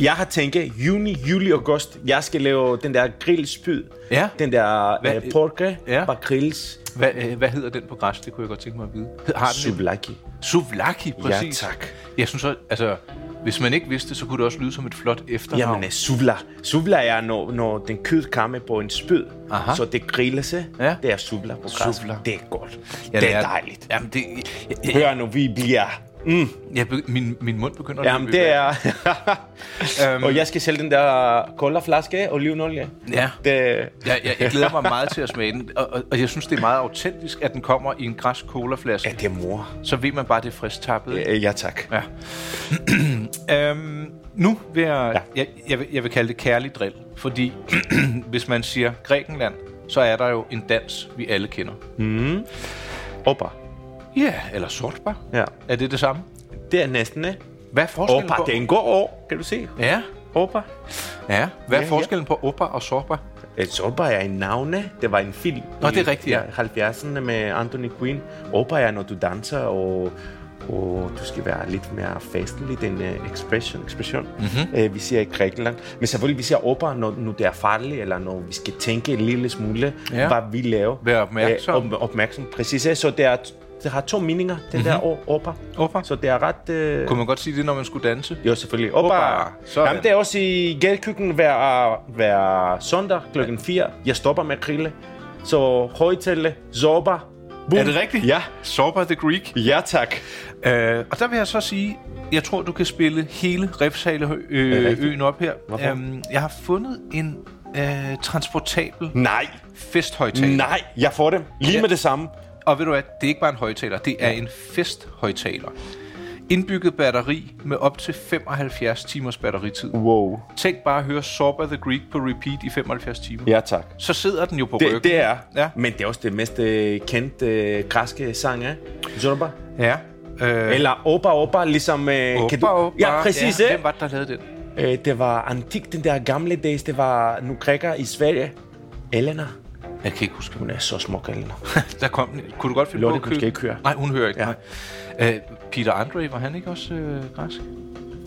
Speaker 2: Jeg har tænkt, juni, juli, august, jeg skal lave den der grillspyd.
Speaker 1: Ja.
Speaker 2: Den der
Speaker 1: Hvad-
Speaker 2: uh, porke,
Speaker 1: Ja.
Speaker 2: ja. bare grilles.
Speaker 1: Hvad, øh, hvad hedder den på græs? Det kunne jeg godt tænke mig at vide. Hed- Har den en-
Speaker 2: Souvlaki.
Speaker 1: Souvlaki, præcis.
Speaker 2: tak.
Speaker 1: Jeg synes så, altså, hvis man ikke vidste, så kunne det også lyde som et flot efternavn.
Speaker 2: Jamen, uh, suvla. Suvla er, når, når den kød kommer på en spyd.
Speaker 1: Aha.
Speaker 2: Så det grilles.
Speaker 1: Ja.
Speaker 2: Ja. Det er suvla på græs.
Speaker 1: Souvlak.
Speaker 2: Det er godt.
Speaker 1: Ja,
Speaker 2: Ja, det, er dejligt.
Speaker 1: Jamen, det, jeg, jeg, jeg,
Speaker 2: Hør nu, vi bliver... Mm.
Speaker 1: jeg, be- min, min mund begynder
Speaker 2: Jamen,
Speaker 1: løbe i
Speaker 2: det
Speaker 1: vand. <laughs>
Speaker 2: er...
Speaker 1: Øhm.
Speaker 2: <laughs> og jeg skal sælge den der kolde flaske af olivenolie.
Speaker 1: Ja.
Speaker 2: Det,
Speaker 1: Jeg, jeg, jeg glæder mig meget til at smage den, og, og, og jeg synes, det er meget autentisk, at den kommer i en græsk colaflaske.
Speaker 2: ja, det er mor.
Speaker 1: Så ved man bare, det er frisk tappet. ikke?
Speaker 2: Ja, tak.
Speaker 1: Ja. <clears throat> øhm, nu vil jeg, ja.
Speaker 2: Ja.
Speaker 1: jeg, jeg, vil, jeg vil kalde det kærlig drill, fordi <clears throat> hvis man siger Grækenland, så er der jo en dans, vi alle kender.
Speaker 2: Opa.
Speaker 1: Ja, eller sortbar.
Speaker 2: Ja.
Speaker 1: Er det det samme?
Speaker 2: Det er næsten, ikke?
Speaker 1: Hvad er forskellen
Speaker 2: Opa,
Speaker 1: på...
Speaker 2: det er en god år, kan du se?
Speaker 1: Ja,
Speaker 2: Opa.
Speaker 1: ja. Hvad er
Speaker 2: Ja, ja.
Speaker 1: forskellen på opper og sortbar?
Speaker 2: Et Opa er en navne. Det var en film.
Speaker 1: Nå,
Speaker 2: i-
Speaker 1: det er rigtigt, ja.
Speaker 2: Ja, 70'erne med Anthony Quinn. Opa er, når du danser, og, og du skal være lidt mere fastelig, den uh, expression, expression
Speaker 1: Mhm.
Speaker 2: mm-hmm. uh, vi ser i Grækenland. Men selvfølgelig, vi ser opera, når, når det er farligt, eller når vi skal tænke en lille smule,
Speaker 1: Ja.
Speaker 2: ja. hvad vi laver.
Speaker 1: Vær opmærksom.
Speaker 2: Øh, op- opmærksom, præcis. ja. Så det, er, det har to meninger, den mm-hmm. der opera.
Speaker 1: Opera.
Speaker 2: Så det er ret... øh,
Speaker 1: Kunne man godt sige det, når man skulle danse?
Speaker 2: Jo, selvfølgelig. Opa.
Speaker 1: Opa. Sådan.
Speaker 2: Jamen, det er også i gadekøkken hver, hver søndag klokken 4. Jeg stopper med at grille. Så højtale, zorba. Boom.
Speaker 1: Er det rigtigt?
Speaker 2: Ja.
Speaker 1: Sortbar the Greek.
Speaker 2: Ja, tak.
Speaker 1: Øh, og der vil jeg så sige, jeg tror, du kan spille hele
Speaker 2: det
Speaker 1: Refshaleøen
Speaker 2: rigtigt?
Speaker 1: øh, øen op her.
Speaker 2: Hvorfor?
Speaker 1: Øhm, jeg har fundet en øh, transportabel
Speaker 2: Nej,
Speaker 1: festhøjtaler.
Speaker 2: nej, jeg får dem. Lige
Speaker 1: Ja.
Speaker 2: med det samme.
Speaker 1: Og ved du hvad, det er ikke bare en højtaler, det er en festhøjtaler. Indbygget batteri med op til 75 timers batteritid.
Speaker 2: Wow.
Speaker 1: Tænk bare at høre Sorba the Greek på repeat i 75 timer.
Speaker 2: Ja, tak.
Speaker 1: Så sidder den jo på
Speaker 2: Det,
Speaker 1: ryggen.
Speaker 2: det er,
Speaker 1: Ja.
Speaker 2: ja. men det er også det mest øh, kendte øh, græske sang, ikke? Zorba. Zorba.
Speaker 1: Ja. Øh,
Speaker 2: Eller Opa Opa, ligesom... Øh,
Speaker 1: Opa,
Speaker 2: kan du...
Speaker 1: Opa.
Speaker 2: Ja, præcis. Ja,
Speaker 1: Hvem var det, der lavede den?
Speaker 2: Øh, det var antik, den der gamle days. Det var nu grækker i Sverige. Elena.
Speaker 1: Jeg kan ikke huske.
Speaker 2: Hun er så smuk, Elena.
Speaker 1: <laughs> Der kom den. Kunne du godt finde
Speaker 2: Lotte,
Speaker 1: på at
Speaker 2: hun
Speaker 1: købe-
Speaker 2: skal ikke høre.
Speaker 1: Nej, hun hører ikke.
Speaker 2: Ja.
Speaker 1: Ja. Øh, Peter Andre, var han ikke også øh, græsk?
Speaker 2: <laughs>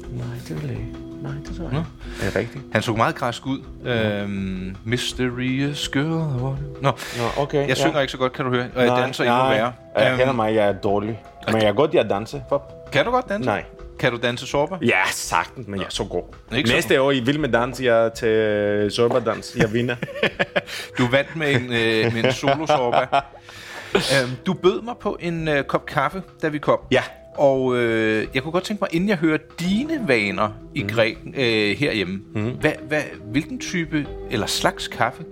Speaker 2: Nej, det vil jeg ikke. Nej, det tror jeg
Speaker 1: Nå.
Speaker 2: ikke. Er det rigtigt?
Speaker 1: Han så meget græsk ud. Øhm, mysterious girl. what- Nå,
Speaker 2: Nå, okay,
Speaker 1: jeg
Speaker 2: ja.
Speaker 1: synger ikke så godt, kan du høre. Og jeg danser endnu værre.
Speaker 2: Jeg
Speaker 1: Øhm,
Speaker 2: kender mig, jeg er dårlig. Men jeg kan godt lide at danse. Fuck.
Speaker 1: kan du godt danse?
Speaker 2: Nej.
Speaker 1: Kan du danse sorba?
Speaker 2: Ja, sagtens, men jeg er så god.
Speaker 1: Ikke så
Speaker 2: Næste år i Vild Med Dans, jeg til øh, Zorbadans. Jeg vinder.
Speaker 1: Du vandt med en, øh, med en solo sorba. øhm, du bød mig på en øh, kop kaffe, da vi kom.
Speaker 2: <laughs> Ja.
Speaker 1: Og øh, jeg kunne godt tænke mig, inden jeg hører dine vaner i mm. Græken øh, herhjemme, mm. hvad, hvad, hvilken type eller slags kaffe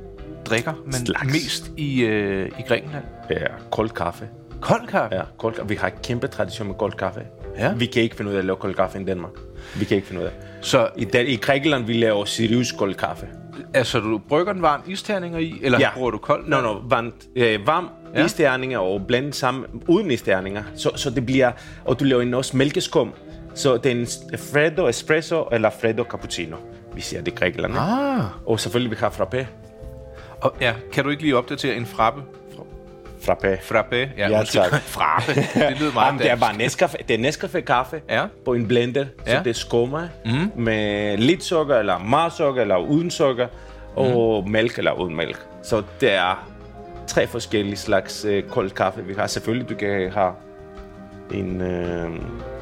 Speaker 1: drikker man
Speaker 2: Slags.
Speaker 1: mest i, øh, i Grækenland?
Speaker 2: ja, kold kaffe.
Speaker 1: Kold kaffe?
Speaker 2: Ja, kold kaffe. Vi har kæmpe tradition med kold kaffe.
Speaker 1: Ja.
Speaker 2: Vi kan ikke finde ud af at lave kold kaffe i Danmark. Vi kan ikke finde ud af.
Speaker 1: Så
Speaker 2: I, Dan- I Grækenland, vi laver Sirius kold kaffe.
Speaker 1: Altså, du brygger den varm isterninger i, eller ja. bruger du kold?
Speaker 2: Nå, no, no, varmt, øh, varm
Speaker 1: Ja.
Speaker 2: ja. isterninger og blandet sammen uden isterninger. Så, så det bliver, og du laver en også mælkeskum. Så det er en Freddo Espresso eller Freddo Cappuccino. Vi siger det i Grækenland. ikke?
Speaker 1: Ah.
Speaker 2: Og selvfølgelig, vi har frappé.
Speaker 1: Og, ja, kan du ikke lige opdatere en frappe?
Speaker 2: Frappé.
Speaker 1: Frappe? Ja,
Speaker 2: Ja,
Speaker 1: undskyld.
Speaker 2: tak.
Speaker 1: <laughs>
Speaker 2: <laughs>
Speaker 1: frappe. Det lyder meget
Speaker 2: Jamen, det er
Speaker 1: dansk.
Speaker 2: bare Nescafe, det er Nescafe kaffe
Speaker 1: Ja.
Speaker 2: på en blender, så
Speaker 1: Ja. Mhm.
Speaker 2: det skummer mm. med lidt sukker, eller meget sukker, eller uden sukker, og
Speaker 1: Mhm.
Speaker 2: mm. mælk eller uden mælk. Så det er tre forskellige slags øh, kold kaffe, vi har. Selvfølgelig, du kan have en øh,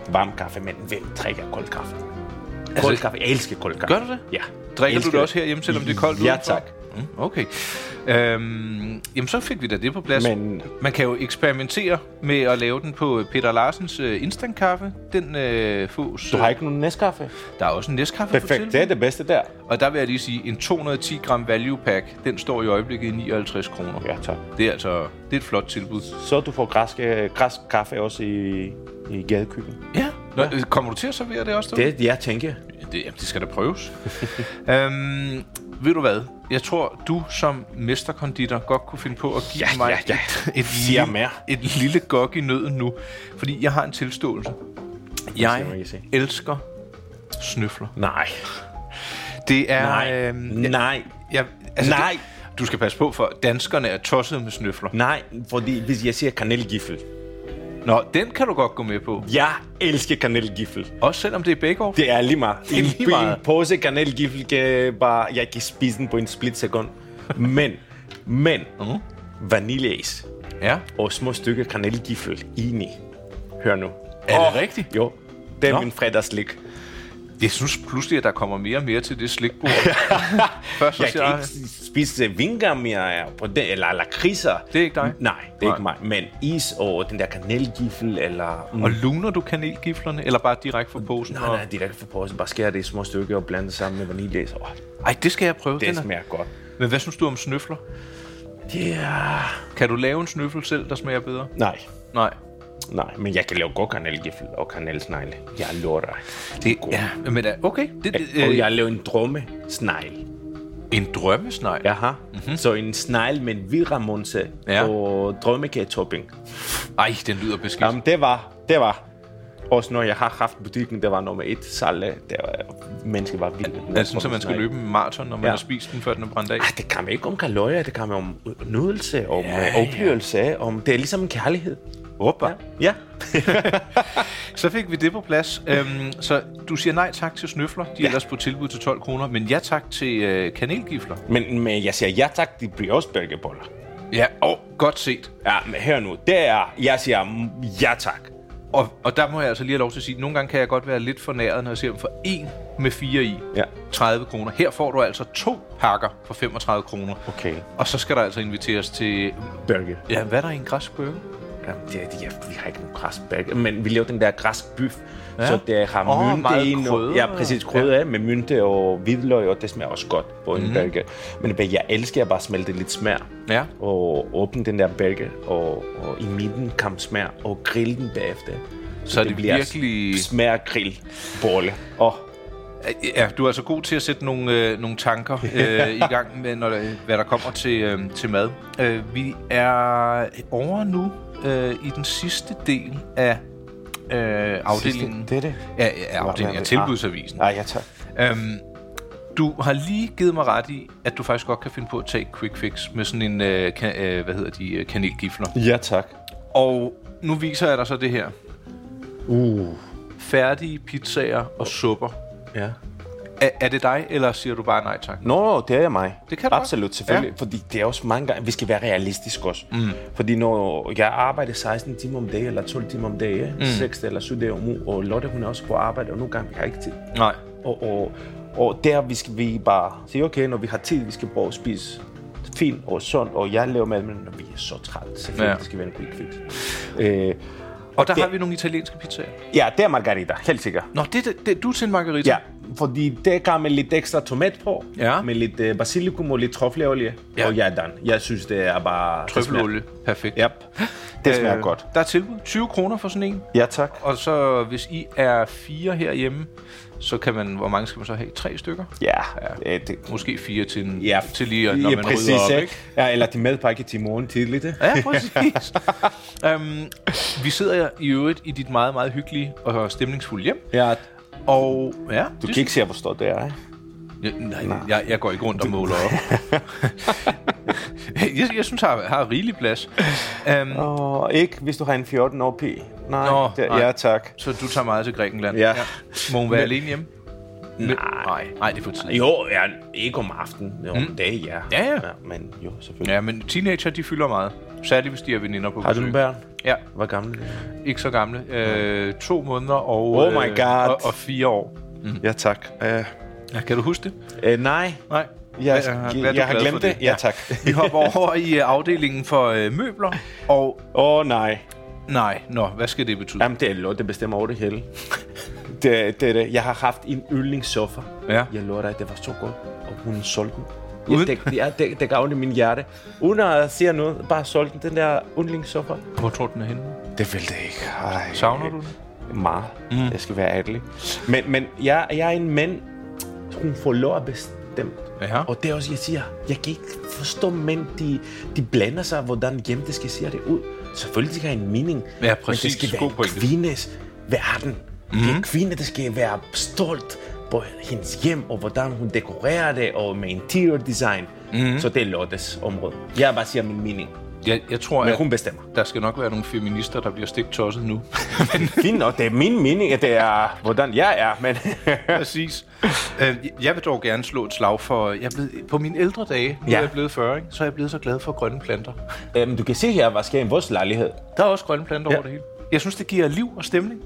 Speaker 2: varm kaffe, men hvem drikker kold kaffe? Kold kaffe. Jeg elsker kold kaffe.
Speaker 1: Altså- Gør du det?
Speaker 2: Ja.
Speaker 1: Drikker du
Speaker 2: Elsker
Speaker 1: det også herhjemme, selvom det er koldt
Speaker 2: Ja,
Speaker 1: udenfor?
Speaker 2: tak.
Speaker 1: Mm, okay. Øhm, jamen, så fik vi da det på plads.
Speaker 2: Men-
Speaker 1: Man kan jo eksperimentere med at lave den på Peter Larsens øh, instantkaffe. Den øh, fås...
Speaker 2: Du har ikke nogen Nescafe?
Speaker 1: Der er også en næstkaffe på
Speaker 2: Perfekt, det er det bedste der.
Speaker 1: Og der vil jeg lige sige, en 210 gram value pack, den står i øjeblikket i 59 kroner.
Speaker 2: Ja, tak.
Speaker 1: Det er altså det er et flot tilbud.
Speaker 2: Så du får græsk, øh, græsk kaffe også i, i gadekøkken.
Speaker 1: Ja. Nå, øh, kommer du til at servere det også? derude?
Speaker 2: Det, jeg tænker.
Speaker 1: det, jamen, det skal da
Speaker 2: <laughs>
Speaker 1: prøves. øhm, ved du hvad? Jeg tror, du som mesterkonditor godt kunne finde på at give
Speaker 2: Ja,
Speaker 1: mig
Speaker 2: ja, ja.
Speaker 1: et, et,
Speaker 2: <laughs> Siger
Speaker 1: lille,
Speaker 2: mere.
Speaker 1: et lille gok i nøden nu. Fordi jeg har en tilståelse.
Speaker 2: se,
Speaker 1: Jeg
Speaker 2: må jeg se.
Speaker 1: elsker snøfler.
Speaker 2: Nej.
Speaker 1: Det er...
Speaker 2: Nej.
Speaker 1: øhm, jeg,
Speaker 2: nej.
Speaker 1: jeg, altså,
Speaker 2: Nej.
Speaker 1: Det, du skal passe på, for danskerne er tossede med snøfler.
Speaker 2: Nej, fordi hvis jeg siger kanelgiffel.
Speaker 1: Nå, den kan du godt gå med på.
Speaker 2: Jeg elsker kanelgiffel.
Speaker 1: Også selvom det er begge år.
Speaker 2: Det er lige meget.
Speaker 1: er
Speaker 2: en,
Speaker 1: lige meget.
Speaker 2: en pose kanelgiffel kan bare... Jeg kan spise den på en splitsekund. Men, men,
Speaker 1: Mhm.
Speaker 2: vaniljeis
Speaker 1: Ja.
Speaker 2: og små stykker kanelgiffel i. Hør nu.
Speaker 1: Er det
Speaker 2: Åh,
Speaker 1: rigtigt?
Speaker 2: Jo. Det er
Speaker 1: Nå.
Speaker 2: min fredagslik.
Speaker 1: Jeg synes pludselig, at der kommer mere og mere til det
Speaker 2: <laughs>
Speaker 1: slikbord. Først så
Speaker 2: Jeg
Speaker 1: siger
Speaker 2: kan ikke spise vinger mere på det, eller lakridser.
Speaker 1: Det er ikke dig?
Speaker 2: Nej, det er ikke mig. Men is og den der kanelgiffel, eller... Mm.
Speaker 1: Og luner du kanelgiflerne, eller bare direkte fra posen?
Speaker 2: Nej, nej, direkte fra posen. Bare skære det i små stykker og blande det sammen med vaniljeis. Åh,
Speaker 1: Ej, det skal jeg prøve.
Speaker 2: det
Speaker 1: Den er-
Speaker 2: smager godt.
Speaker 1: Men hvad synes du om snøfler?
Speaker 2: Det er...
Speaker 1: Kan du lave en snøffel selv, der smager bedre?
Speaker 2: Nej,
Speaker 1: Nej.
Speaker 2: nej. Men jeg kan lave god kanelgiffel og kanelsnegle. Jeg lover dig.
Speaker 1: Det ja, men da- okay. Det, det,
Speaker 2: Og
Speaker 1: øh,
Speaker 2: jeg laver en drømmesnegle.
Speaker 1: en drømmesnegl.
Speaker 2: Jaha. Mm-hmm. Så en snegle med en viramunse
Speaker 1: Mhm. Ja.
Speaker 2: og drømmekagetopping.
Speaker 1: Ej, den lyder beskidt.
Speaker 2: Jamen, det var, det var. Også når jeg har haft butikken, det var nummer et salg. Der var, mennesker var vildt.
Speaker 1: er det sådan, at man skal løbe en maraton, når man
Speaker 2: Ja.
Speaker 1: har spist den, før den er brændt af?
Speaker 2: Ah, det kan man ikke om kalorier, det kan man om nydelse, om
Speaker 1: Ja,
Speaker 2: ja,
Speaker 1: ja.
Speaker 2: oplevelse, om det er ligesom en kærlighed.
Speaker 1: Råber.
Speaker 2: Ja.
Speaker 1: Så fik vi det på plads. Øhm, så du siger nej tak til snøfler. De er ellers på tilbud til 12 kroner. Men ja tak til øh, kanelgifler.
Speaker 2: Men, men jeg siger ja tak, de briocheburgerboller.
Speaker 1: Ja, og godt set.
Speaker 2: Ja, men hør nu, det er, jeg siger mm, ja tak.
Speaker 1: Og, og der må jeg altså lige have lov til at sige, at nogle gange kan jeg godt være lidt fornæret, når jeg ser dem for en med fire i.
Speaker 2: Ja.
Speaker 1: 30 kroner. Her får du altså to pakker for 35 kroner.
Speaker 2: Okay.
Speaker 1: Og så skal der altså inviteres til...
Speaker 2: Burger.
Speaker 1: Ja, hvad er der i en græsk burger?
Speaker 2: Jamen, det, er- det, ja, vi har ikke nogen græsbærk, men vi laver den der græsbøf, ja. så det har
Speaker 1: Åh,
Speaker 2: oh, mynte
Speaker 1: meget
Speaker 2: i noget.
Speaker 1: krydder.
Speaker 2: Ja, præcis, krydder ja. med mynte og hvidløg, og det smager også godt på en mm. burger. Men hvad jeg elsker at bare smelte lidt smør,
Speaker 1: Mhm. Ja.
Speaker 2: og åbne den der burger, og, og i midten kom smør, og grille den bagefter. Så,
Speaker 1: er det virkelig-
Speaker 2: smærgrill bolle. Åh,
Speaker 1: Ja, du er altså god til at sætte nogle, øh, nogle
Speaker 2: <laughs>
Speaker 1: tanker øh, i Øh, gang med, når der, hvad der kommer til, øh, til mad. Øh, vi er over nu øh, i den sidste del af øh, afdelingen.
Speaker 2: Det er det.
Speaker 1: Ja, ja, afdelingen af
Speaker 2: Ah.
Speaker 1: tilbudsavisen.
Speaker 2: Nej, jeg tager.
Speaker 1: Øhm, du har lige givet mig ret i, at du faktisk godt kan finde på at tage et quick fix med sådan en, øh, kan, øh, hvad hedder de, øh, kanelgifler.
Speaker 2: Ja, tak.
Speaker 1: Og nu viser jeg dig så det her.
Speaker 2: Uh.
Speaker 1: Færdige pizzaer og supper.
Speaker 2: Ja.
Speaker 1: Er, er det dig, eller siger du bare nej tak?
Speaker 2: Nå, det er mig.
Speaker 1: Det kan du
Speaker 2: Absolut,
Speaker 1: godt.
Speaker 2: selvfølgelig. Ja. Fordi det er også mange gange, vi skal være realistiske også. Mm. Fordi når jeg arbejder 16 timer om dagen, eller 12 timer om dagen, mm. 6 eller 7 dage om ugen, og Lotte hun er også på arbejde, og nogle gange vi har ikke tid.
Speaker 1: Nej.
Speaker 2: Og, og, og der vi skal vi bare sige, okay, når vi har tid, vi skal prøve at spise fint og sundt, og jeg laver mad, men når vi er så træt, selvfølgelig
Speaker 1: Ja.
Speaker 2: ja. det skal være en quick fix. Øh,
Speaker 1: Og der
Speaker 2: Det-
Speaker 1: har vi nogle italienske pizzaer.
Speaker 2: ja, det er margarita, helt sikkert.
Speaker 1: Nå, det, det, det, du er til en margarita.
Speaker 2: Ja, fordi det kan med lidt ekstra tomat på,
Speaker 1: Ja.
Speaker 2: med lidt øh, basilikum og lidt trøffelolie,
Speaker 1: Ja.
Speaker 2: ja. og jeg er done. Jeg synes, det er bare... det
Speaker 1: Trøffelolie. Perfekt.
Speaker 2: smager- Yep. Det smager øh. godt.
Speaker 1: Der er tilbud. 20 kroner for sådan en.
Speaker 2: Ja, tak.
Speaker 1: Og så hvis I er fire herhjemme, så kan man, hvor mange skal man så have? Tre stykker?
Speaker 2: Ja, ja. det,
Speaker 1: Måske fire til, en,
Speaker 2: ja
Speaker 1: til lige, når
Speaker 2: ja,
Speaker 1: man
Speaker 2: præcis,
Speaker 1: rydder op,
Speaker 2: ja.
Speaker 1: ikke?
Speaker 2: Ja, eller de madpakke til morgen tidligt. ikke?
Speaker 1: Ja, præcis. <laughs> um, vi sidder i øvrigt i dit meget, meget hyggelige og stemningsfulde hjem.
Speaker 2: Ja,
Speaker 1: Og ja,
Speaker 2: du
Speaker 1: det-
Speaker 2: kan ikke se, hvor stort det er. Ikke?
Speaker 1: Ja, nej, nej. Jeg, jeg går ikke rundt og måler
Speaker 2: <laughs>
Speaker 1: op. jeg, jeg synes, jeg har, har rigelig plads. Um,
Speaker 2: Og ikke, hvis du har en 14 år pige. Nej,
Speaker 1: Nå,
Speaker 2: det,
Speaker 1: nej.
Speaker 2: ja tak.
Speaker 1: Så du tager meget til Grækenland?
Speaker 2: Ja.
Speaker 1: Må hun være alene hjemme? Nej. Nej, det er for tidligt.
Speaker 2: Jo, ja, ikke om aftenen. Jo, mm. dag, ja.
Speaker 1: Ja, ja.
Speaker 2: Men jo, selvfølgelig.
Speaker 1: Ja, men teenager, de fylder meget. Særligt, hvis de har veninder på
Speaker 2: Har du
Speaker 1: besøg.
Speaker 2: nogle børn?
Speaker 1: Ja,
Speaker 2: Hvor gammel?
Speaker 1: ikke så gamle. Øh, to måneder og, øh,
Speaker 2: Oh my God.
Speaker 1: og, og fire år.
Speaker 2: Ja, tak. Uh,
Speaker 1: Ja, kan du huske det?
Speaker 2: øh, nej,
Speaker 1: Nej.
Speaker 2: Jeg,
Speaker 1: Hvad- hvad er
Speaker 2: jeg,
Speaker 1: du
Speaker 2: jeg, jeg har
Speaker 1: glad for
Speaker 2: glemt det. Ja, tak.
Speaker 1: Vi hopper over i øh, afdelingen for øh, møbler, og
Speaker 2: <laughs> Åh, oh, nej.
Speaker 1: nej, nå, hvad skal det betyde?
Speaker 2: Jamen, det er Lotte, der bestemmer over det hele. <laughs> det, det, er det. Jeg har haft en yndlingssofa.
Speaker 1: Ja.
Speaker 2: Jeg lover dig, det var så godt, og hun solgte den.
Speaker 1: Uden-
Speaker 2: Jeg, det, jeg, det, det gavnede min hjerte. Uden at sige noget, bare solgte den, den der yndlingssofa.
Speaker 1: Hvor tror du, den er henne?
Speaker 2: Det ville det ikke. Ej.
Speaker 1: Savner du den?
Speaker 2: Meget. Mm. Jeg skal være ærlig. Men, men jeg, jeg er en mand, hun får lov at bestemme.
Speaker 1: Ja.
Speaker 2: Og det er også, jeg siger, jeg kan ikke forstå mænd, de, de blander sig, hvordan hjem det skal se det ud. Selvfølgelig det skal have en mening,
Speaker 1: Ja,
Speaker 2: men det
Speaker 1: præcis.
Speaker 2: skal
Speaker 1: God
Speaker 2: være en
Speaker 1: pointe.
Speaker 2: kvindes verden. Mm. Det er en kvinde, der skal være stolt på hendes hjem, og hvordan hun dekorerer det, og med interior design. Mm. Så det er Lottes område. Jeg bare siger min mening,
Speaker 1: Jeg, jeg tror,
Speaker 2: men
Speaker 1: at
Speaker 2: hun bestemmer.
Speaker 1: der skal nok være nogle feminister, der bliver stik tosset
Speaker 2: <laughs>
Speaker 1: nu. <laughs>
Speaker 2: Fint, og det er min mening, at det er, hvordan jeg er, men...
Speaker 1: Præcis. Øh, Jeg vil dog gerne slå et slag for... Jeg er blevet, på mine ældre dage, nu ja.
Speaker 2: Ja.
Speaker 1: er jeg blevet 40, ikke? så er jeg blevet så glad for grønne planter.
Speaker 2: <laughs> Øhm, du kan se her, hvad sker i vores lejlighed.
Speaker 1: Der er også grønne planter ja.
Speaker 2: Ja.
Speaker 1: over det hele. Jeg synes, det giver liv og stemning.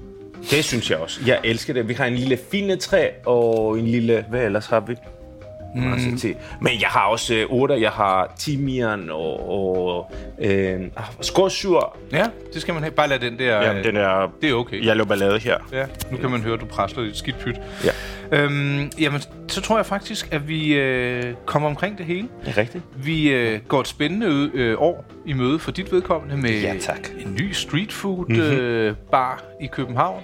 Speaker 2: Det synes jeg også. Jeg elsker det. Vi har en lille fine træ og en lille... Hvad ellers har vi? Mm. Men jeg har også øh, urter. Jeg har timian og, og øh, ah, skorsyr.
Speaker 1: Ja, det skal man have. Bare lad den der... øh,
Speaker 2: er...
Speaker 1: Det er okay.
Speaker 2: Jeg laver ballade her.
Speaker 1: Ja, nu kan man høre, at du presler lidt skidt pyt.
Speaker 2: Ja.
Speaker 1: Øhm, jamen, så tror jeg faktisk, at vi øh, kommer omkring det hele.
Speaker 2: Det er rigtigt.
Speaker 1: Vi øh, går et spændende ø- øh, år i møde for dit vedkommende med
Speaker 2: Ja, tak.
Speaker 1: en ny street food mm-hmm. øh, bar i København.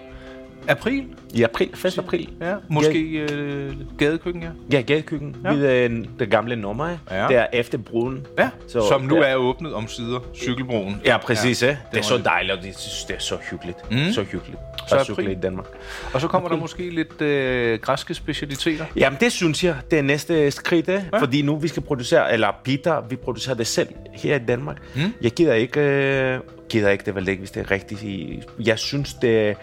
Speaker 1: April,
Speaker 2: I april, 1. april.
Speaker 1: ja. Måske øh, gadekøkken, ja.
Speaker 2: Ja, gadekøkken.
Speaker 1: Ja.
Speaker 2: Ja. Ved øh, det gamle nummer.
Speaker 1: Ja.
Speaker 2: Ja. Der efter bruden.
Speaker 1: ja.
Speaker 2: Så-
Speaker 1: Som nu
Speaker 2: ja.
Speaker 1: er åbnet om sider, cykelbroen.
Speaker 2: Ja, præcis. Ja, det, det
Speaker 1: var
Speaker 2: er så
Speaker 1: det.
Speaker 2: dejligt, og det, det er så hyggeligt. Mm. Så hyggeligt.
Speaker 1: Så
Speaker 2: Så
Speaker 1: april.
Speaker 2: cykle i Danmark.
Speaker 1: Og så kommer der måske lidt øh, græske specialiteter.
Speaker 2: Jamen, det synes jeg, det er næste skridt, ja. fordi nu vi skal producere, eller Peter, vi producerer det selv her i Danmark. Mm. Jeg gider ikke, øh, gider ikke det vel ikke, hvis det er rigtigt. Jeg synes, det...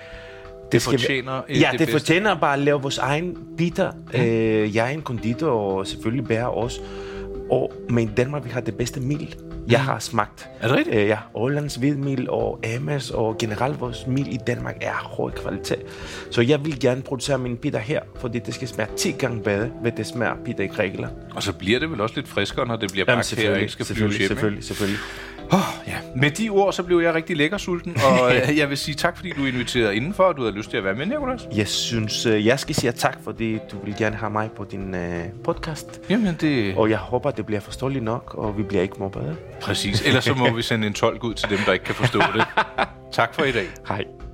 Speaker 2: Det, skal være-
Speaker 1: fortjener, øh,
Speaker 2: ja,
Speaker 1: det
Speaker 2: det,
Speaker 1: bedste.
Speaker 2: fortjener bare at lave vores egen bitter. Mm. Øh, jeg er en konditor, og selvfølgelig bærer også. Og, men i Danmark, vi har det bedste mel, jeg har smagt.
Speaker 1: Er det rigtigt?
Speaker 2: Øh, ja, Ålands hvidmel og Amas og generelt vores mel i Danmark er af høj kvalitet. Så jeg vil gerne producere mine pita her, fordi det skal smage 10 gange bedre, hvad det smager pita i Grækenland.
Speaker 1: Og så bliver det vel også lidt friskere, når det bliver bagt her, og ikke skal flyve
Speaker 2: selvfølgelig,
Speaker 1: hjem, ikke?
Speaker 2: selvfølgelig, selvfølgelig.
Speaker 1: Oh, ja. Med de ord, så blev jeg rigtig lækker sulten,
Speaker 2: <laughs>
Speaker 1: og øh, jeg vil sige tak, fordi du inviterede indenfor, og du havde lyst til at være med, Nicolas.
Speaker 2: Jeg synes, øh, jeg skal sige tak, fordi du vil gerne have mig på din øh, podcast.
Speaker 1: Jamen, det er
Speaker 2: Og jeg håber, det bliver forståeligt nok, og vi bliver ikke mobbet.
Speaker 1: præcis. Ellers så må vi sende en tolk ud til dem, der ikke kan forstå det. Tak for i dag.
Speaker 2: Hej.